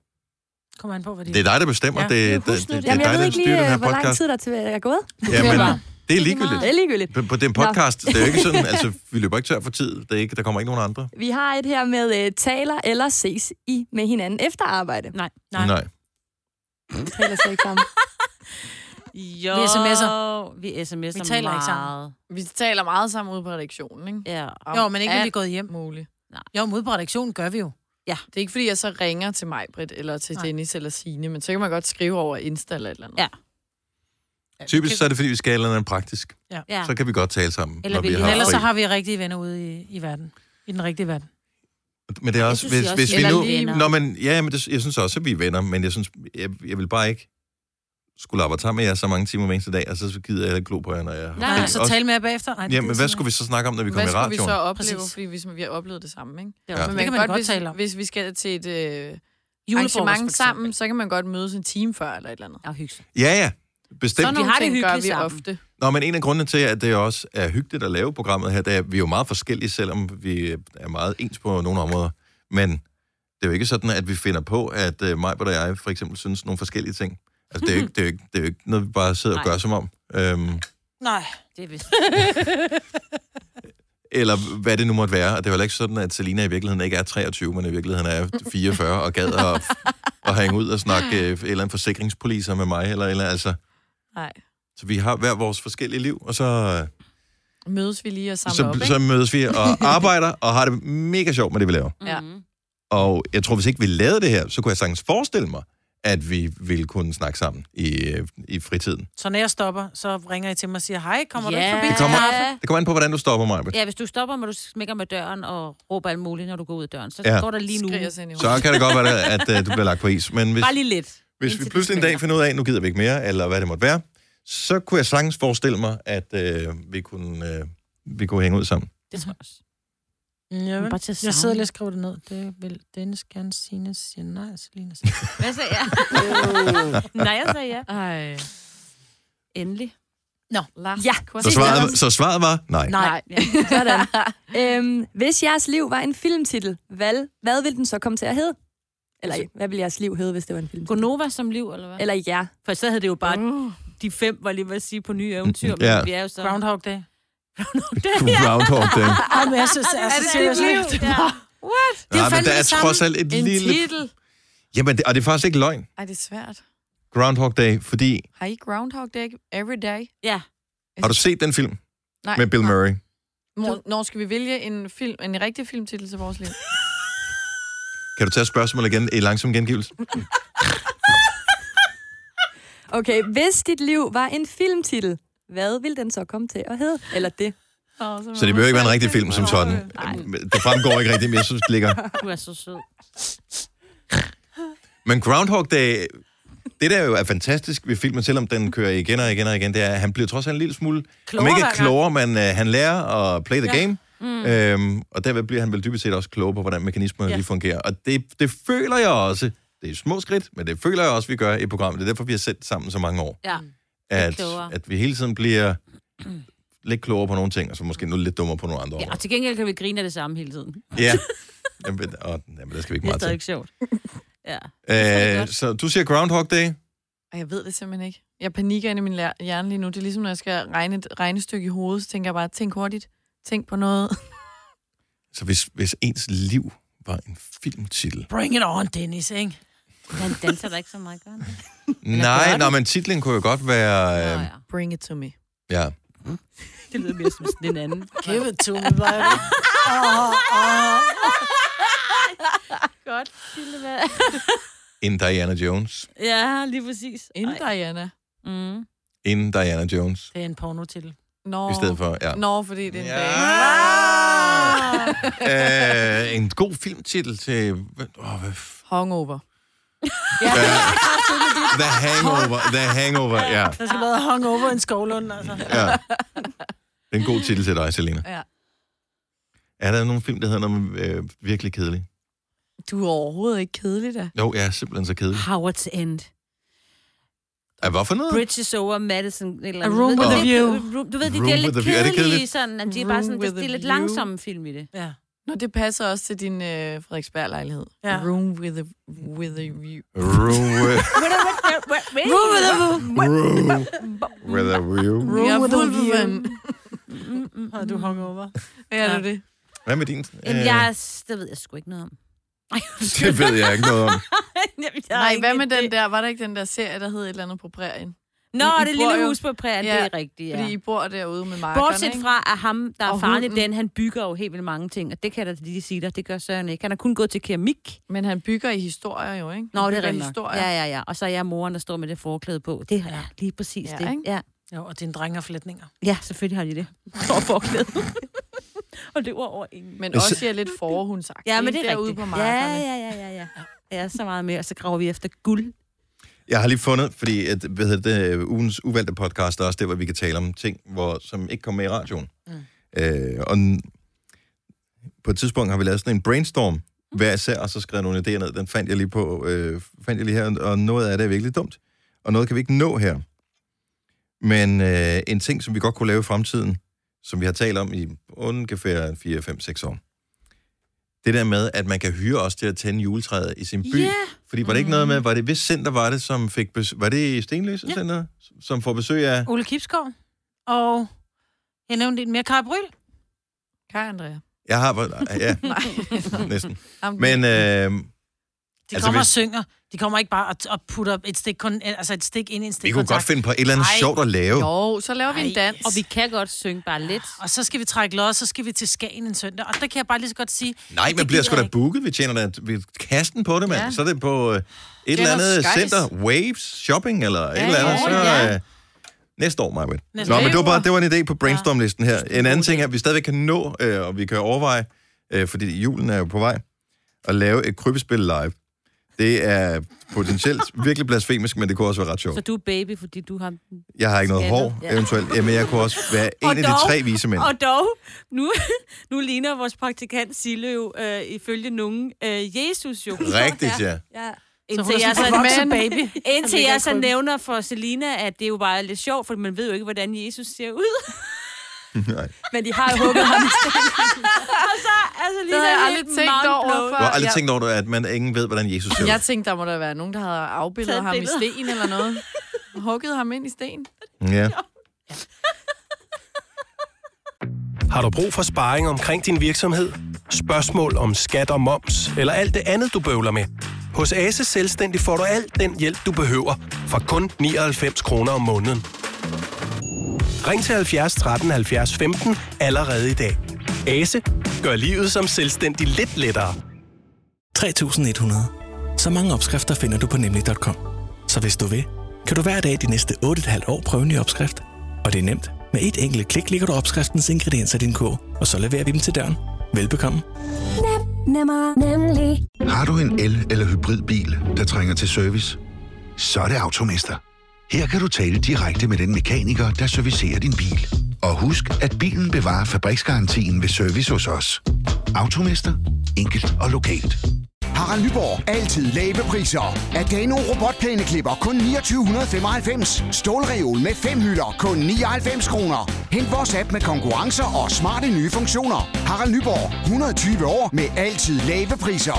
[SPEAKER 3] Kommer an på, hvad det
[SPEAKER 1] Det er dig, der bestemmer.
[SPEAKER 3] Ja.
[SPEAKER 1] det,
[SPEAKER 2] Men
[SPEAKER 1] det,
[SPEAKER 2] husk
[SPEAKER 1] det,
[SPEAKER 2] nu
[SPEAKER 1] det,
[SPEAKER 2] det.
[SPEAKER 1] det er
[SPEAKER 5] Jamen, jeg
[SPEAKER 1] dig,
[SPEAKER 5] ved
[SPEAKER 1] der
[SPEAKER 5] ikke lige,
[SPEAKER 1] styrer den her
[SPEAKER 5] øh, hvor lang
[SPEAKER 1] podcast.
[SPEAKER 5] tid der er til- er gået.
[SPEAKER 1] Jamen,
[SPEAKER 4] bare.
[SPEAKER 1] det er
[SPEAKER 4] lige
[SPEAKER 1] ligegyldigt.
[SPEAKER 5] Det er ligegyldigt.
[SPEAKER 1] På, på den podcast, det er jo ikke sådan, altså, vi løber ikke tør for tid. Det er ikke, der kommer ikke nogen andre.
[SPEAKER 5] Vi har et her med øh, taler eller ses i med hinanden efter arbejde.
[SPEAKER 2] Nej.
[SPEAKER 3] Nej.
[SPEAKER 1] Nej.
[SPEAKER 5] Vi Mm. taler slet ikke sammen.
[SPEAKER 2] Jo.
[SPEAKER 3] Vi sms'er.
[SPEAKER 2] Vi sms'er
[SPEAKER 3] Vi taler
[SPEAKER 2] meget.
[SPEAKER 3] ikke sammen.
[SPEAKER 4] Vi taler meget sammen ude på redaktionen, ikke?
[SPEAKER 2] Ja.
[SPEAKER 4] Om
[SPEAKER 3] Jo, men ikke, når vi
[SPEAKER 4] alt
[SPEAKER 3] er gået hjem.
[SPEAKER 4] muligt.
[SPEAKER 3] Jo, mod på redaktionen gør vi jo.
[SPEAKER 4] Det er ikke, fordi jeg så ringer til mig, Britt, eller til
[SPEAKER 3] Nej.
[SPEAKER 4] Dennis eller Signe, men så kan man godt skrive over Insta eller et eller andet.
[SPEAKER 2] Ja.
[SPEAKER 1] Typisk så er det, fordi vi skal et eller andet praktisk.
[SPEAKER 2] ja.
[SPEAKER 1] Så kan vi godt tale sammen,
[SPEAKER 2] Eller
[SPEAKER 1] når vi
[SPEAKER 2] vi-
[SPEAKER 1] har
[SPEAKER 3] Ellers
[SPEAKER 1] fri.
[SPEAKER 3] så har vi rigtige venner ude i, i verden. I den rigtige verden.
[SPEAKER 1] Men det er også,
[SPEAKER 2] synes,
[SPEAKER 1] hvis,
[SPEAKER 2] I også
[SPEAKER 1] hvis vi
[SPEAKER 4] Eller
[SPEAKER 1] nu...
[SPEAKER 4] lige-
[SPEAKER 1] Nå, men, ja, men det, jeg synes også, at vi er venner, men jeg, synes, jeg, jeg vil bare ikke skulle arbejde sammen med jer så mange timer hver eneste dag, og så gider jeg heller ikke glo på jer, når jeg har
[SPEAKER 3] Nej,
[SPEAKER 1] fri.
[SPEAKER 3] nej, så
[SPEAKER 1] Også-
[SPEAKER 3] tale altså, med jer bagefter. Nej, det
[SPEAKER 1] Jamen,
[SPEAKER 3] gider
[SPEAKER 1] hvad
[SPEAKER 3] jeg
[SPEAKER 1] skulle vi så snakke om, når vi
[SPEAKER 4] Hvad
[SPEAKER 1] kommer i
[SPEAKER 4] skulle vi så
[SPEAKER 1] radioen?
[SPEAKER 4] opleve,
[SPEAKER 3] Præcis.
[SPEAKER 4] fordi vi, vi har oplevet det samme, ikke?
[SPEAKER 2] Det
[SPEAKER 1] Ja.
[SPEAKER 2] var-
[SPEAKER 4] Men
[SPEAKER 3] Det kan man
[SPEAKER 4] kan
[SPEAKER 3] godt
[SPEAKER 4] hvis,
[SPEAKER 3] tale om.
[SPEAKER 4] Hvis vi skal til et, øh, arrangement sammen, så kan man godt mødes en time før eller et eller andet.
[SPEAKER 2] Og hygge sig.
[SPEAKER 1] Ja, ja.
[SPEAKER 4] Sådan
[SPEAKER 1] Bestemt.
[SPEAKER 4] nogle
[SPEAKER 2] har det
[SPEAKER 4] ting gør vi
[SPEAKER 2] hyggeligt sammen.
[SPEAKER 4] ofte.
[SPEAKER 1] Nå, men en af grundene til, at det også er hyggeligt at lave programmet her, det er, at vi er jo meget forskellige, selvom vi er meget ens på nogle områder. Men det er jo ikke sådan, at vi finder på, at uh, mig og jeg for eksempel synes nogle forskellige ting. Altså, det er jo ikke, det er jo ikke, det er jo ikke noget, vi bare sidder og
[SPEAKER 2] Nej.
[SPEAKER 1] gør som om. Øhm,
[SPEAKER 3] Nej.
[SPEAKER 2] Det er vist.
[SPEAKER 1] eller hvad det nu måtte være. Og det er jo heller ikke sådan, at Selina i virkeligheden ikke er 23, men i virkeligheden er 44 og gad at, at hænge ud og snakke øh, en eller en forsikringspoliser med mig. Eller, eller, altså.
[SPEAKER 4] Nej.
[SPEAKER 1] Så vi har hver vores forskellige liv, og så, øh,
[SPEAKER 4] Mødes vi lige og samler op,
[SPEAKER 1] så,
[SPEAKER 4] ikke?
[SPEAKER 1] så mødes vi og arbejder og har det mega sjovt med det, vi laver.
[SPEAKER 4] Ja.
[SPEAKER 2] Mhm.
[SPEAKER 1] Og jeg tror, hvis ikke vi lavede det her, så kunne jeg sagtens forestille mig, at vi ville kunne snakke sammen i, øh, i fritiden.
[SPEAKER 3] Så når jeg stopper, så ringer I til mig og siger, hej, kommer du
[SPEAKER 2] Ja.
[SPEAKER 3] ikke forbi?
[SPEAKER 1] Det
[SPEAKER 3] til
[SPEAKER 1] kommer-
[SPEAKER 3] kaffe?"
[SPEAKER 1] Det kommer an på, hvordan du stopper mig.
[SPEAKER 2] Ja, hvis du stopper, må du smækker med døren og råber alt muligt, når du går ud af døren. Så
[SPEAKER 1] Ja.
[SPEAKER 2] går der lige nu.
[SPEAKER 4] Skriger os ind i
[SPEAKER 1] Så kan det godt være, at øh, du bliver lagt på is. Men hvis,
[SPEAKER 2] Bare lige lidt.
[SPEAKER 1] Hvis vi
[SPEAKER 2] Indtil det
[SPEAKER 1] pludselig en dag finder ud af, at nu gider vi ikke mere, eller hvad det måtte være, så kunne jeg sagtens forestille mig, at øh, vi, kunne, øh, vi kunne hænge ud sammen.
[SPEAKER 2] Det tror jeg også.
[SPEAKER 3] Jamen,
[SPEAKER 2] Bare til at
[SPEAKER 3] jeg sidder
[SPEAKER 2] savne.
[SPEAKER 3] lige og skriver det ned. Det vil Dennis gerne sige, siger nej, Selina siger.
[SPEAKER 2] Hvad sagde jeg? Nej, jeg sagde ja.
[SPEAKER 4] Ej.
[SPEAKER 2] Endelig.
[SPEAKER 4] Lars,
[SPEAKER 5] Ja.
[SPEAKER 4] Kors-
[SPEAKER 1] Så
[SPEAKER 5] Det kan
[SPEAKER 1] svaret, så svaret var nej.
[SPEAKER 3] Nej.
[SPEAKER 2] Ja.
[SPEAKER 5] Sådan. øhm, hvis jeres liv var en filmtitel, hvad, hvad ville den så komme til at hedde? Eller hvad ville jeres liv hedde, hvis det var en filmtitel?
[SPEAKER 2] Gonova som liv, eller hvad?
[SPEAKER 5] Eller ja.
[SPEAKER 2] For så havde det jo bare
[SPEAKER 4] Uh.
[SPEAKER 2] de fem, var lige ved at sige, på nye eventyr.
[SPEAKER 1] Ja.
[SPEAKER 2] Men vi er jo så...
[SPEAKER 3] Groundhog Day.
[SPEAKER 1] Groundhog Day.
[SPEAKER 3] Ej, men jeg synes, det er, så seriøst.
[SPEAKER 2] liv? Ja.
[SPEAKER 3] Det er
[SPEAKER 1] Nej, men
[SPEAKER 3] fandme
[SPEAKER 1] der er
[SPEAKER 3] det samme.
[SPEAKER 1] trods alt et
[SPEAKER 4] En
[SPEAKER 1] lille...
[SPEAKER 4] titel.
[SPEAKER 1] Jamen, det, og det er faktisk ikke løgn,
[SPEAKER 4] Ej, det er svært.
[SPEAKER 1] Groundhog Day, fordi...
[SPEAKER 4] Har I Groundhog Day every day?
[SPEAKER 2] ja.
[SPEAKER 1] Har du set den film
[SPEAKER 4] Nej.
[SPEAKER 1] med Bill Murray?
[SPEAKER 4] Mor, når skal vi vælge en, film, en rigtig filmtitel til vores liv?
[SPEAKER 1] Kan du tage spørgsmålet igen i langsom gengivelse?
[SPEAKER 5] Okay, hvis dit liv var en filmtitel, hvad ville den så komme til at hedde? Eller det?
[SPEAKER 1] Så det behøver ikke være en rigtig film som sådan.
[SPEAKER 2] Nej.
[SPEAKER 1] Det fremgår ikke rigtigt, men jeg synes, det ligger...
[SPEAKER 2] Du er så sød.
[SPEAKER 1] Men Groundhog Day, det der jo er fantastisk ved filmen, selvom den kører igen og igen og igen, det er, at han bliver trods alt en lille smule...
[SPEAKER 3] Klogere
[SPEAKER 1] om ikke
[SPEAKER 3] hver gang.
[SPEAKER 1] klogere, men øh, han lærer at play the ja. game. Mm. Øhm, og derved bliver han vel dybest set også klogere på, hvordan mekanismerne ja. lige fungerer. Og det, det føler jeg også, det er små skridt, men det føler jeg også, vi gør i programmet. Det er derfor, vi har sendt sammen så mange år.
[SPEAKER 2] Ja.
[SPEAKER 1] At,
[SPEAKER 2] klogere.
[SPEAKER 1] at vi hele tiden bliver lidt klogere på nogle ting, og så måske nu lidt dummere på nogle andre
[SPEAKER 2] ja.
[SPEAKER 1] områder.
[SPEAKER 2] Og til gengæld kan vi grine af det samme hele tiden.
[SPEAKER 1] Ja. Jamen, og, jamen, der skal vi ikke
[SPEAKER 2] Det er
[SPEAKER 1] meget til.
[SPEAKER 2] stadig sjovt. Ja.
[SPEAKER 1] Øh,
[SPEAKER 2] godt.
[SPEAKER 1] så du siger Groundhog Day.
[SPEAKER 4] Og jeg ved det simpelthen ikke. Jeg panikker inde i min lær- hjerne lige nu. Det er ligesom, når jeg skal regne et regnestykke i hovedet, så tænker jeg bare, tænk hurtigt. Tænk på noget.
[SPEAKER 1] Så hvis, hvis ens liv var en filmtitel?
[SPEAKER 3] Bring it on, Dennis, ikke?
[SPEAKER 2] Han danser da ikke så meget, gør han det?
[SPEAKER 1] Nej, nej, men titlen kunne jo godt være...
[SPEAKER 2] Nå,
[SPEAKER 1] Øh,
[SPEAKER 2] ja.
[SPEAKER 4] Bring it to me.
[SPEAKER 1] ja.
[SPEAKER 2] Det lyder mere som sådan en anden.
[SPEAKER 3] Give it to me, baby.
[SPEAKER 2] Godt, Sildevær.
[SPEAKER 1] En Diana Jones.
[SPEAKER 2] Ja, lige præcis.
[SPEAKER 4] In Diana.
[SPEAKER 2] Mm.
[SPEAKER 1] En Diana Jones.
[SPEAKER 3] Det er en pornotitel.
[SPEAKER 4] Nå.
[SPEAKER 1] I stedet for, ja.
[SPEAKER 4] Nå, fordi det er en
[SPEAKER 1] Ja. Ah!
[SPEAKER 4] dag.
[SPEAKER 1] Øh, en god filmtitel til... Åh, hvad, f-
[SPEAKER 4] Hungover.
[SPEAKER 1] The Hangover. The Hangover, ja.
[SPEAKER 3] Der skal være hungover en skovlund, altså.
[SPEAKER 1] ja. Det er en god titel til dig, Selina.
[SPEAKER 4] Ja.
[SPEAKER 1] Er der nogen film, der hedder noget med, øh, virkelig kedelig?
[SPEAKER 4] Du er overhovedet ikke kedelig, da.
[SPEAKER 1] Jo, jeg er simpelthen så kedelig.
[SPEAKER 2] Howard's End.
[SPEAKER 4] Mm.
[SPEAKER 1] Er hvorfor noget?
[SPEAKER 2] Bridges over Madison. et Eller
[SPEAKER 3] A Room
[SPEAKER 2] Du ved,
[SPEAKER 1] with a
[SPEAKER 2] det-
[SPEAKER 3] View.
[SPEAKER 2] Room- Du ved, det,
[SPEAKER 1] Room
[SPEAKER 2] det er
[SPEAKER 1] with
[SPEAKER 2] lidt
[SPEAKER 1] a View. Er det
[SPEAKER 2] kedelige,
[SPEAKER 1] kedeligt?
[SPEAKER 2] sådan, at de er
[SPEAKER 4] Room
[SPEAKER 2] bare sådan, det
[SPEAKER 4] with a
[SPEAKER 2] det er lidt
[SPEAKER 4] View.
[SPEAKER 2] langsomme film i det.
[SPEAKER 3] Ja.
[SPEAKER 4] Nå, det passer også til din øh, Frederiksberg-lejlighed.
[SPEAKER 3] Ja.
[SPEAKER 4] Ja. Room with a, with a view.
[SPEAKER 1] Room with,
[SPEAKER 2] Room with a
[SPEAKER 1] room with a view.
[SPEAKER 4] Room
[SPEAKER 3] with a
[SPEAKER 4] Wolverine.
[SPEAKER 2] Mm,
[SPEAKER 3] Og du er hungover.
[SPEAKER 4] Ja, det er det.
[SPEAKER 1] Hvad med din?
[SPEAKER 2] Jamen,
[SPEAKER 1] Øh,
[SPEAKER 2] jeg, er- det ved jeg sgu ikke noget om. Ej, undskyld.
[SPEAKER 1] Det ved jeg ikke noget om.
[SPEAKER 2] Jamen, jeg har
[SPEAKER 4] Nej,
[SPEAKER 2] ikke
[SPEAKER 4] hvad med
[SPEAKER 2] idé.
[SPEAKER 4] den der? Var der ikke den der serie, der hed et eller andet på prærien?
[SPEAKER 2] Nå,
[SPEAKER 4] I- I
[SPEAKER 2] det
[SPEAKER 4] bor
[SPEAKER 2] lille
[SPEAKER 4] jo-
[SPEAKER 2] hus på prærien,
[SPEAKER 4] Ja,
[SPEAKER 2] det er rigtigt, ja.
[SPEAKER 4] Fordi I bor derude med markerne,
[SPEAKER 2] Bortset
[SPEAKER 4] ikke?
[SPEAKER 2] fra, at ham, der er
[SPEAKER 4] Og
[SPEAKER 2] farlig,
[SPEAKER 4] hunden.
[SPEAKER 2] den, han bygger jo helt vildt mange ting, og det kan jeg da lige sige dig, det gør Søren ikke. Han har kun gået til keramik.
[SPEAKER 4] Men han bygger i historier jo, ikke?
[SPEAKER 2] Nå,
[SPEAKER 4] han
[SPEAKER 2] det er
[SPEAKER 4] bygger
[SPEAKER 2] rigtigt nok.
[SPEAKER 4] historier.
[SPEAKER 2] Ja, ja, ja. Og så er jeg moren, der står med det forklæde på. Det er ja. lige præcis
[SPEAKER 4] Ja,
[SPEAKER 2] det.
[SPEAKER 4] ikke?
[SPEAKER 2] Ja.
[SPEAKER 3] Jo, og dine drenge har flætninger.
[SPEAKER 2] ja, selvfølgelig har de det. For forklæde. og det var over ingen.
[SPEAKER 4] Men
[SPEAKER 1] Men så-
[SPEAKER 4] også jeg er lidt forhundsagtig.
[SPEAKER 2] Ja, men det er
[SPEAKER 4] derude
[SPEAKER 2] rigtigt.
[SPEAKER 4] på
[SPEAKER 2] ja,
[SPEAKER 4] markerne.
[SPEAKER 2] ja, ja, ja, ja. Ja, så meget mere. Og så graver vi efter guld.
[SPEAKER 1] Jeg har lige fundet, fordi at, hvad hedder det, ugens uvalgte podcast er også det, hvor vi kan tale om ting, hvor, som ikke kommer med i radioen. Mm. Øh, og n- på et tidspunkt har vi lavet sådan en brainstorm, hver især, og så skrevet nogle idéer ned. Den fandt jeg lige på, øh, fandt jeg lige her, og noget af det er virkelig dumt. Og noget kan vi ikke nå her. Men øh, en ting, som vi godt kunne lave i fremtiden, som vi har talt om i ungefær 4, 5, 6 år, det der med, at man kan hyre os til at tænde juletræet i sin by.
[SPEAKER 2] Ja.
[SPEAKER 1] Fordi var det ikke noget med, var det hvis center var det, som fik besøg, var det Stenløse
[SPEAKER 3] Ja.
[SPEAKER 1] ja. Center, som får besøg af?
[SPEAKER 3] Ole Kipskov. Og jeg nævnte en mere, Kaja Bryl.
[SPEAKER 4] Kaj Andrea.
[SPEAKER 1] Jeg har, ja,
[SPEAKER 4] Nej.
[SPEAKER 1] næsten.
[SPEAKER 4] Jamen,
[SPEAKER 1] Men øh,
[SPEAKER 3] De
[SPEAKER 1] Altså, hvis-
[SPEAKER 3] kommer og synger. De kommer ikke bare og, og putter et stik, kun, altså et stik ind i en stik.
[SPEAKER 1] vi kunne godt finde på et eller andet
[SPEAKER 3] Ej.
[SPEAKER 1] sjovt at lave.
[SPEAKER 4] Jo, så laver vi en dans.
[SPEAKER 2] Og vi kan godt synge bare lidt.
[SPEAKER 3] Og så skal vi trække lod, og så skal vi til Skagen en søndag. Og der kan jeg bare lige så godt sige...
[SPEAKER 1] Nej, man bliver
[SPEAKER 3] det gider
[SPEAKER 1] sgu da
[SPEAKER 3] jeg
[SPEAKER 1] booket. Vi tjener da vi kasten på det, mand. Ja.
[SPEAKER 4] Ja.
[SPEAKER 1] Så er det på øh, et eller andet
[SPEAKER 4] Skies.
[SPEAKER 1] center. Waves Shopping eller et eller andet.
[SPEAKER 2] ja,
[SPEAKER 1] Så,
[SPEAKER 2] ja.
[SPEAKER 1] øh, næste år, Maja.
[SPEAKER 3] Næste
[SPEAKER 1] Nå,
[SPEAKER 3] år.
[SPEAKER 1] men det var, bare, det var en idé på brainstorm-listen her. En anden ting er, at vi stadigvæk kan nå, øh, og vi kan overveje, øh, fordi julen er jo på vej, at lave et krybespil live. Det er potentielt virkelig blasfemisk, men det kunne også være ret
[SPEAKER 2] Så
[SPEAKER 1] sjovt.
[SPEAKER 2] du er baby, fordi du har...
[SPEAKER 1] Jeg har ikke noget
[SPEAKER 2] Skaldet,
[SPEAKER 1] hår,
[SPEAKER 2] ja.
[SPEAKER 1] eventuelt. Jamen, jeg kunne også være en
[SPEAKER 2] Og
[SPEAKER 1] af de
[SPEAKER 2] dog-
[SPEAKER 1] tre vise mænd.
[SPEAKER 2] Og dog, nu, nu ligner vores praktikant Sille jo øh, ifølge nogen øh, Jesus jo.
[SPEAKER 1] Rigtigt, ja.
[SPEAKER 5] Ja.
[SPEAKER 3] Så
[SPEAKER 2] Indtil
[SPEAKER 3] hun er
[SPEAKER 2] jeg så,
[SPEAKER 3] sådan en
[SPEAKER 2] men,
[SPEAKER 3] voksen baby.
[SPEAKER 2] indtil
[SPEAKER 5] ligger i
[SPEAKER 2] jeg så
[SPEAKER 5] krybben.
[SPEAKER 2] nævner for Selina, at det jo bare er lidt sjovt, for man ved jo ikke, hvordan Jesus ser ud.
[SPEAKER 1] Nej.
[SPEAKER 5] Men de har jo hugget ham.
[SPEAKER 2] Altså,
[SPEAKER 4] det havde jeg aldrig tænkt over
[SPEAKER 1] Du har
[SPEAKER 4] før.
[SPEAKER 1] aldrig
[SPEAKER 4] Jeg,
[SPEAKER 1] tænkt over, at man ingen ved, hvordan Jesus ser ud.
[SPEAKER 4] jeg tænkte, der må der være nogen, der havde afbildet
[SPEAKER 2] Taget
[SPEAKER 4] ham i
[SPEAKER 2] billeder.
[SPEAKER 4] sten eller noget. Hugget ham ind i sten.
[SPEAKER 1] Ja.
[SPEAKER 6] Har du brug for sparring omkring din virksomhed? Spørgsmål om skat og moms, eller alt det andet, du bøvler med? Hos Ase Selvstændig får du alt den hjælp, du behøver, for kun 99 kroner om måneden. Ring til 70 13 70 15 allerede i dag. Ase gør livet som selvstændig lidt lettere.
[SPEAKER 7] 3100. Så mange opskrifter finder du på nemlig.com. Så hvis du vil, kan du hver dag de næste 8,5 år prøve en ny opskrift. Og det er nemt. Med et enkelt klik ligger du opskriftens ingredienser i din kog, og så leverer vi dem til døren. Velbekomme.
[SPEAKER 8] Nemmer, nemlig.
[SPEAKER 9] Har du en el- eller hybridbil, der trænger til service? Så er det Automester. Her kan du tale direkte med den mekaniker, der servicerer din bil. Og husk, at bilen bevarer fabriksgarantien ved service hos os. Automester. Enkelt og lokalt.
[SPEAKER 10] Harald Nyborg. Altid lave priser. Adano robotplæneklipper kun 2995. Stålreol med fem hylder kun 99 kroner. Hent vores app med konkurrencer og smarte nye funktioner. Harald Nyborg. 120 år med altid lave priser.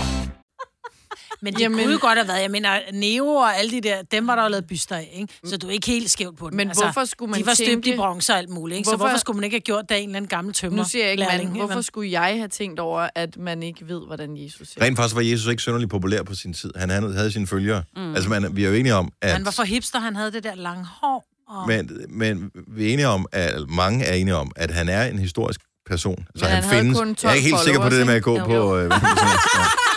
[SPEAKER 3] Men det
[SPEAKER 4] Jamen-
[SPEAKER 3] Jamen. kunne jo godt have været, jeg mener, Neo og alle de der, dem var der jo lavet byster af, ikke? Så du er ikke helt skævt på den. Altså,
[SPEAKER 4] Men hvorfor skulle man
[SPEAKER 3] De var støbt i
[SPEAKER 4] tænke-
[SPEAKER 3] bronze og alt muligt, ikke? Så
[SPEAKER 4] Hvorfor-
[SPEAKER 3] hvorfor skulle man ikke have gjort det af en eller anden gammel tømmer?
[SPEAKER 4] Nu siger jeg ikke, man,
[SPEAKER 3] lærling,
[SPEAKER 4] hvorfor skulle jeg have tænkt over, at man ikke ved, hvordan Jesus ser?
[SPEAKER 1] Rent faktisk var Jesus ikke synderligt populær på sin tid. Han havde havde sine følgere. Mm. Altså, man, vi er jo enige om, at...
[SPEAKER 3] Men hvorfor hipster, han havde det der lange hår? Og...
[SPEAKER 1] men, men vi er enige om, at eller mange er enige om, at han er en historisk person. Så
[SPEAKER 4] Men han havde kun
[SPEAKER 1] jeg er
[SPEAKER 4] 12
[SPEAKER 1] ikke helt sikker på det der med at gå
[SPEAKER 4] followers, ikke?
[SPEAKER 1] på... Øh, hvad hedder sådan noget.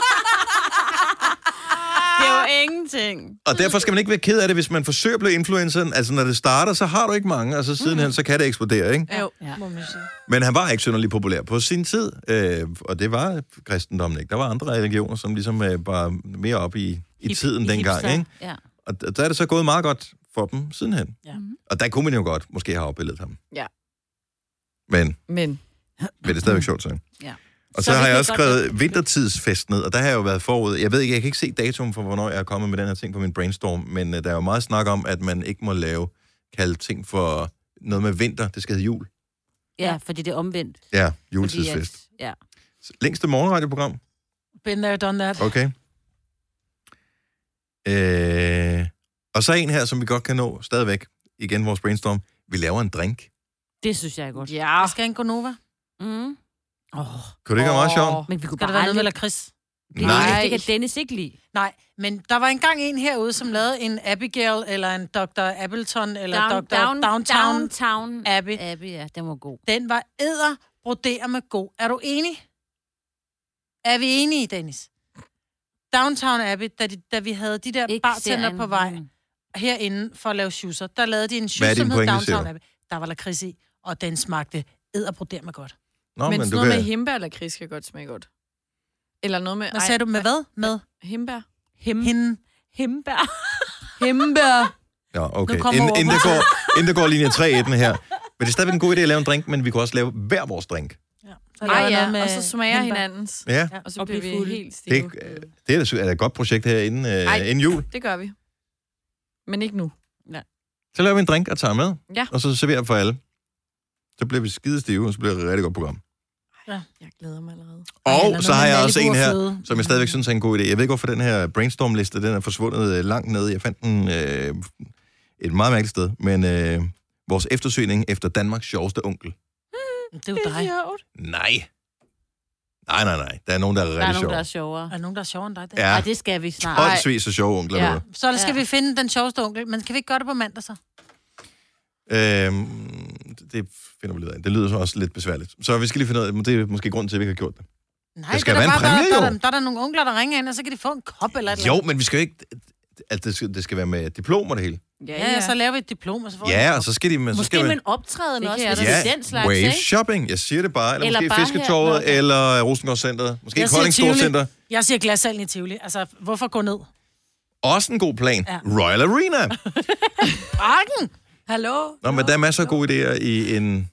[SPEAKER 2] Det er jo ingenting.
[SPEAKER 1] og derfor skal man ikke være ked af det, hvis man forsøger at blive influenceren. Altså, når det starter, så har du ikke mange, og så
[SPEAKER 4] Mm.
[SPEAKER 1] sidenhen, så kan det eksplodere, ikke?
[SPEAKER 4] Jo,
[SPEAKER 2] Ja.
[SPEAKER 4] må man sige.
[SPEAKER 1] Men han var ikke synderligt populær på sin tid, øh, og det var kristendommen ikke. Der var andre religioner, som ligesom øh, var mere op i, i tiden
[SPEAKER 2] i
[SPEAKER 1] dengang,
[SPEAKER 2] hipster.
[SPEAKER 1] ikke?
[SPEAKER 2] Ja.
[SPEAKER 1] Og d- der er det så gået meget godt for dem sidenhen.
[SPEAKER 3] Ja.
[SPEAKER 1] Ja. Og der kunne man jo godt måske have afbildet ham.
[SPEAKER 4] Ja.
[SPEAKER 1] Men,
[SPEAKER 4] Men
[SPEAKER 1] men det er stadigvæk sjovt, så.
[SPEAKER 2] Ja.
[SPEAKER 1] Og så,
[SPEAKER 2] Så
[SPEAKER 1] så har
[SPEAKER 2] vi
[SPEAKER 1] jeg
[SPEAKER 2] kan
[SPEAKER 1] også
[SPEAKER 2] godt-
[SPEAKER 1] skrevet vintertidsfest ned, og der har jeg jo været forud. Jeg ved ikke, jeg kan ikke se datoen for, hvornår jeg er kommet med den her ting på min brainstorm, men øh, der er jo meget snak om, at man ikke må lave, kalde ting for noget med vinter. Det skal hedde jul.
[SPEAKER 2] ja, fordi det er omvendt.
[SPEAKER 1] Ja,
[SPEAKER 2] Fordi
[SPEAKER 1] juletidsfest.
[SPEAKER 2] at, ja.
[SPEAKER 1] Længste morgenradioprogram?
[SPEAKER 3] Been there, done that.
[SPEAKER 1] Okay. Øh, og så en her, som vi godt kan nå stadigvæk. Igen vores brainstorm. Vi laver en drink.
[SPEAKER 2] Det synes jeg er godt.
[SPEAKER 4] ja,
[SPEAKER 3] Skal en Gonova?
[SPEAKER 2] Mm. Oh,
[SPEAKER 1] Kunne det ikke Ah. være meget sjovt?
[SPEAKER 4] Åh.
[SPEAKER 2] men vi kunne
[SPEAKER 3] Skal
[SPEAKER 2] bare
[SPEAKER 3] der være noget med
[SPEAKER 2] aldrig...
[SPEAKER 3] lakrids?
[SPEAKER 1] Nej.
[SPEAKER 2] Nej. Det kan Dennis ikke lide.
[SPEAKER 3] Nej, men der var engang en herude, som lavede en Abigail, eller en Dr. Appleton, eller down, Dr. Down, Downtown. Down.
[SPEAKER 2] Downtown
[SPEAKER 3] Abbey.
[SPEAKER 2] Abbey, ja, den var god.
[SPEAKER 3] Den var æder, broder med god. Er du enig? Er vi enige, Dennis? Downtown Abbey, da, de, da vi havde de der
[SPEAKER 2] Ikke
[SPEAKER 3] bartender
[SPEAKER 2] serien.
[SPEAKER 3] på vej
[SPEAKER 2] Mm.
[SPEAKER 3] herinde for at lave shoeser, der lavede de en
[SPEAKER 1] Hvad er
[SPEAKER 3] shoes,
[SPEAKER 1] din
[SPEAKER 3] som hed
[SPEAKER 1] pointe,
[SPEAKER 3] Downtown
[SPEAKER 1] siger du?
[SPEAKER 3] Abbey. Der var lakrids i, og den smagte æder, broder med godt.
[SPEAKER 1] Nå, men,
[SPEAKER 4] men sådan
[SPEAKER 1] du
[SPEAKER 4] noget med
[SPEAKER 1] kan...
[SPEAKER 4] himbær eller kris kan godt smage godt. Eller noget med...
[SPEAKER 3] Hvad sagde du med hvad? Med
[SPEAKER 4] Himbær.
[SPEAKER 2] Him,
[SPEAKER 3] hende.
[SPEAKER 2] himbær.
[SPEAKER 4] Himbær.
[SPEAKER 1] Ja, okay.
[SPEAKER 3] Nu kommer
[SPEAKER 1] Inden, inden, der
[SPEAKER 3] over.
[SPEAKER 1] går, inden der går linje 3 i den her. Men det er stadigvæk en god idé at lave en drink, men vi kunne også lave hver vores drink.
[SPEAKER 3] Ja, Så
[SPEAKER 4] Ah,
[SPEAKER 3] laver jeg
[SPEAKER 4] ja,
[SPEAKER 3] noget med
[SPEAKER 4] og så smager
[SPEAKER 3] hindbær.
[SPEAKER 4] hinandens.
[SPEAKER 1] Ja.
[SPEAKER 4] Og så
[SPEAKER 3] Og
[SPEAKER 4] bliver
[SPEAKER 3] blive
[SPEAKER 4] vi
[SPEAKER 3] fulde.
[SPEAKER 4] helt
[SPEAKER 1] Det,
[SPEAKER 4] stive.
[SPEAKER 1] øh, det er da sy- er da et godt projekt her inden,
[SPEAKER 4] Ej.
[SPEAKER 1] øh, inden jul.
[SPEAKER 4] Det gør vi. Men ikke nu.
[SPEAKER 1] Så laver vi en drink og tager med,
[SPEAKER 4] Ja.
[SPEAKER 1] og så serverer for alle. Så bliver vi skide stive, og så bliver det et rigtig godt program.
[SPEAKER 4] Jeg glæder mig allerede.
[SPEAKER 1] Og
[SPEAKER 3] eller
[SPEAKER 1] så
[SPEAKER 3] noget
[SPEAKER 1] har
[SPEAKER 3] med
[SPEAKER 1] jeg også en
[SPEAKER 3] Malibu og
[SPEAKER 1] her,
[SPEAKER 3] fløde.
[SPEAKER 1] som jeg stadigvæk synes er en god idé. Jeg ved ikke, hvorfor den her brainstorm-liste, den er forsvundet øh, langt nede. Jeg fandt den øh, et meget mærkeligt sted, men øh, vores eftersøgning efter Danmarks sjoveste onkel.
[SPEAKER 3] Det er jo dig.
[SPEAKER 1] Nej. Nej, nej, nej. Der er nogen, der er
[SPEAKER 2] Der er
[SPEAKER 1] rigtig
[SPEAKER 2] nogen,
[SPEAKER 1] sjove.
[SPEAKER 2] der er sjovere.
[SPEAKER 3] Er der nogen, der er sjovere end dig? Dan?
[SPEAKER 1] Ja.
[SPEAKER 2] Nej, det skal vi snart.
[SPEAKER 4] Hold-
[SPEAKER 1] Håndsvis så sjove onkler.
[SPEAKER 4] Ja.
[SPEAKER 1] Ja.
[SPEAKER 3] Så der skal
[SPEAKER 2] Ja.
[SPEAKER 3] vi finde den sjoveste onkel. Men kan vi ikke gøre det på mandag så?
[SPEAKER 1] Øhm, det finder vi lidt af. Det lyder så også lidt besværligt. Så vi skal lige finde ud af, det er måske grund til, at vi ikke har gjort det.
[SPEAKER 3] Nej,
[SPEAKER 1] Der skal
[SPEAKER 3] det er
[SPEAKER 1] være en
[SPEAKER 3] da bare-
[SPEAKER 1] præmie,
[SPEAKER 3] der,
[SPEAKER 1] jo.
[SPEAKER 3] der, der, der, er der nogle onkler, der ringer ind, og så kan de få en kop eller et
[SPEAKER 1] Jo,
[SPEAKER 3] eller
[SPEAKER 1] men vi skal jo ikke... At det, skal, det skal være med diplom og det hele.
[SPEAKER 3] andet. Ja, ja, så laver vi et diplom, og så får de en
[SPEAKER 1] Ja,
[SPEAKER 3] kop.
[SPEAKER 1] og så skal de... Men, så
[SPEAKER 2] Måske
[SPEAKER 1] skal
[SPEAKER 2] med
[SPEAKER 1] man,
[SPEAKER 2] en optræden
[SPEAKER 4] Det
[SPEAKER 2] også,
[SPEAKER 4] kan
[SPEAKER 2] hvis
[SPEAKER 4] jeg
[SPEAKER 2] det
[SPEAKER 4] da
[SPEAKER 2] er den slags,
[SPEAKER 1] wave
[SPEAKER 2] ikke?
[SPEAKER 1] shopping. Jeg siger det bare. Eller,
[SPEAKER 2] Eller
[SPEAKER 1] eller måske
[SPEAKER 2] bare
[SPEAKER 1] Fisketorvet,
[SPEAKER 2] her. Nå,
[SPEAKER 1] eller Rosengårdscenteret. Måske
[SPEAKER 3] Jeg siger
[SPEAKER 1] Kolding
[SPEAKER 3] Tivoli.
[SPEAKER 1] Storcenter.
[SPEAKER 3] Jeg siger glassalen i Tivoli. Altså, hvorfor gå ned?
[SPEAKER 1] Også en god plan.
[SPEAKER 3] Ja.
[SPEAKER 1] Royal Arena.
[SPEAKER 3] Parken!
[SPEAKER 4] Hallo?
[SPEAKER 1] Nå, men der er masser af gode idéer i en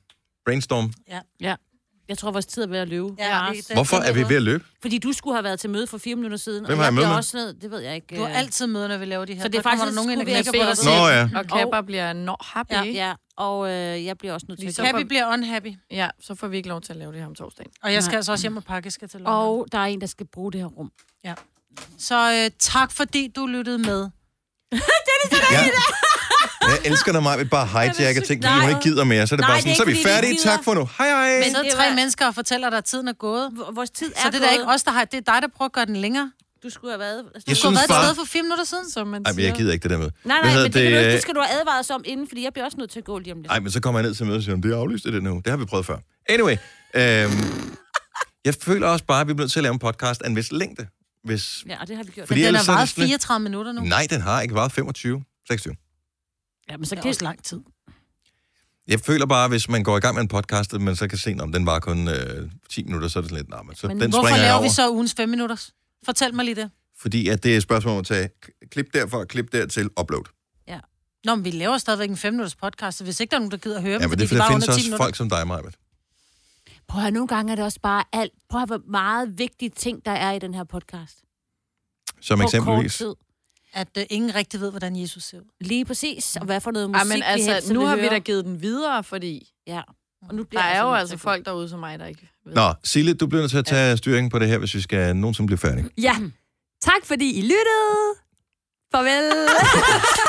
[SPEAKER 1] brainstorm.
[SPEAKER 2] Jeg tror, vores tid er ved at løbe.
[SPEAKER 3] det- det-
[SPEAKER 1] Hvorfor er vi ved at løbe?
[SPEAKER 2] Fordi du skulle have været til møde for fire minutter siden.
[SPEAKER 1] Hvem har
[SPEAKER 2] og
[SPEAKER 1] jeg møde
[SPEAKER 2] bliver
[SPEAKER 1] med?
[SPEAKER 2] Også ned, det ved jeg ikke.
[SPEAKER 3] Du har
[SPEAKER 2] øh.
[SPEAKER 3] altid møder, når vi laver de her.
[SPEAKER 2] Så det er
[SPEAKER 3] Der kommer
[SPEAKER 2] faktisk-
[SPEAKER 3] der nogen ind, der
[SPEAKER 2] skulle vi
[SPEAKER 3] knækker
[SPEAKER 2] have
[SPEAKER 3] på os.
[SPEAKER 2] set-
[SPEAKER 1] Nå ja.
[SPEAKER 4] Og Kappa bliver nå happy,
[SPEAKER 3] Ja,
[SPEAKER 4] ja, ja.
[SPEAKER 2] Ja, og øh, jeg bliver også nødt til at
[SPEAKER 4] Ligesom-
[SPEAKER 2] gå.
[SPEAKER 3] Happy bliver unhappy.
[SPEAKER 4] ja, så får vi ikke lov til at lave det her om torsdagen.
[SPEAKER 3] Og jeg skal
[SPEAKER 2] Nej.
[SPEAKER 3] altså også hjem og pakke, jeg skal til London.
[SPEAKER 2] Og der er en, der skal bruge det her rum.
[SPEAKER 3] Så øh, tak, fordi du lyttede med.
[SPEAKER 1] Ja. Jeg elsker, når mig bare hijacker ting, fordi hun
[SPEAKER 2] Nej.
[SPEAKER 1] ikke gider mere. Så er det
[SPEAKER 2] Nej,
[SPEAKER 1] bare
[SPEAKER 2] det
[SPEAKER 1] sådan,
[SPEAKER 2] er
[SPEAKER 1] så er vi
[SPEAKER 2] ikke, fordi de
[SPEAKER 1] færdige.
[SPEAKER 2] gider.
[SPEAKER 1] Tak for nu. Hej hej.
[SPEAKER 3] Men sidder
[SPEAKER 2] det
[SPEAKER 3] tre
[SPEAKER 2] var-
[SPEAKER 3] mennesker og fortæller dig, at tiden er gået.
[SPEAKER 2] V- Vores tid er
[SPEAKER 3] Så det er da ikke
[SPEAKER 2] gået.
[SPEAKER 3] os, der har... Det er dig, der prøver at gøre den længere.
[SPEAKER 2] Du skulle have været...
[SPEAKER 1] Jeg
[SPEAKER 3] Du har
[SPEAKER 1] synes
[SPEAKER 3] været et
[SPEAKER 1] bare-
[SPEAKER 3] sted for fire minutter siden.
[SPEAKER 4] Som man
[SPEAKER 1] Ej, men jeg gider ikke det der med.
[SPEAKER 2] Nej, nej, men det, kan du,
[SPEAKER 1] øh?
[SPEAKER 2] ikke- det skal du have advaret os om inden, fordi jeg bliver også nødt til at gå lige om lidt.
[SPEAKER 1] Nej, men så kommer jeg ned til mødet og siger, det er aflyst i den nu. Det har vi prøvet før. Anyway, øhm, jeg føler også bare, at vi bliver nødt til at lave en podcast af en vis længde. Hvis...
[SPEAKER 2] Ja, og det har vi gjort.
[SPEAKER 1] Fordi
[SPEAKER 3] Men den
[SPEAKER 1] ellers
[SPEAKER 3] har
[SPEAKER 1] så er
[SPEAKER 3] varet
[SPEAKER 1] det sådan lidt-
[SPEAKER 3] 34 minutter nu.
[SPEAKER 1] Nej, den har ikke varet 25, 26.
[SPEAKER 2] Ja, men så
[SPEAKER 3] Det
[SPEAKER 2] kan
[SPEAKER 3] er også lang tid.
[SPEAKER 1] Jeg føler bare, hvis man går i gang med en podcast, at man så kan se, om den var kun øh, 10 minutter, så er det sådan lidt, nej, men så
[SPEAKER 2] Men
[SPEAKER 1] den
[SPEAKER 3] Hvorfor
[SPEAKER 1] springer jeg
[SPEAKER 3] laver
[SPEAKER 1] over.
[SPEAKER 3] vi så ugens 5 minutter? Fortæl mig lige det.
[SPEAKER 1] Fordi at det er et spørgsmål om at tage k- klip derfra, klip dertil, upload.
[SPEAKER 3] Nå, men vi laver stadigvæk en 5 minutters podcast, så hvis ikke der er nogen, der gider at høre
[SPEAKER 1] Ja,
[SPEAKER 3] dem,
[SPEAKER 1] men
[SPEAKER 3] fordi
[SPEAKER 1] det, for
[SPEAKER 3] de
[SPEAKER 1] der
[SPEAKER 3] var
[SPEAKER 1] findes
[SPEAKER 3] under 10
[SPEAKER 1] også
[SPEAKER 3] minutter.
[SPEAKER 1] folk som dig, Majbet.
[SPEAKER 2] Prøv at høre, nogle gange er det også bare alt. Prøv at høre, hvor meget vigtige ting, der er i den her podcast.
[SPEAKER 1] Som
[SPEAKER 2] På kort
[SPEAKER 1] eksempelvis.
[SPEAKER 2] tid.
[SPEAKER 3] At øh, ingen rigtig ved, hvordan Jesus ser ud.
[SPEAKER 2] Lige præcis. Og hvad for noget musik,
[SPEAKER 4] Ej, men altså,
[SPEAKER 2] helst
[SPEAKER 4] nu
[SPEAKER 2] vil
[SPEAKER 4] har vi
[SPEAKER 2] høre.
[SPEAKER 4] da givet den videre, fordi
[SPEAKER 2] Ja. Og nu bliver
[SPEAKER 4] der
[SPEAKER 2] jeg
[SPEAKER 4] er jo
[SPEAKER 2] nødt til
[SPEAKER 4] altså
[SPEAKER 2] at gå.
[SPEAKER 4] folk derude som mig, der ikke ved.
[SPEAKER 1] Nå, Sille, du bliver nødt til at tage styringen på det her, hvis vi skal nogensinde blive færdige.
[SPEAKER 5] Ja. Tak fordi I lyttede. Farvel.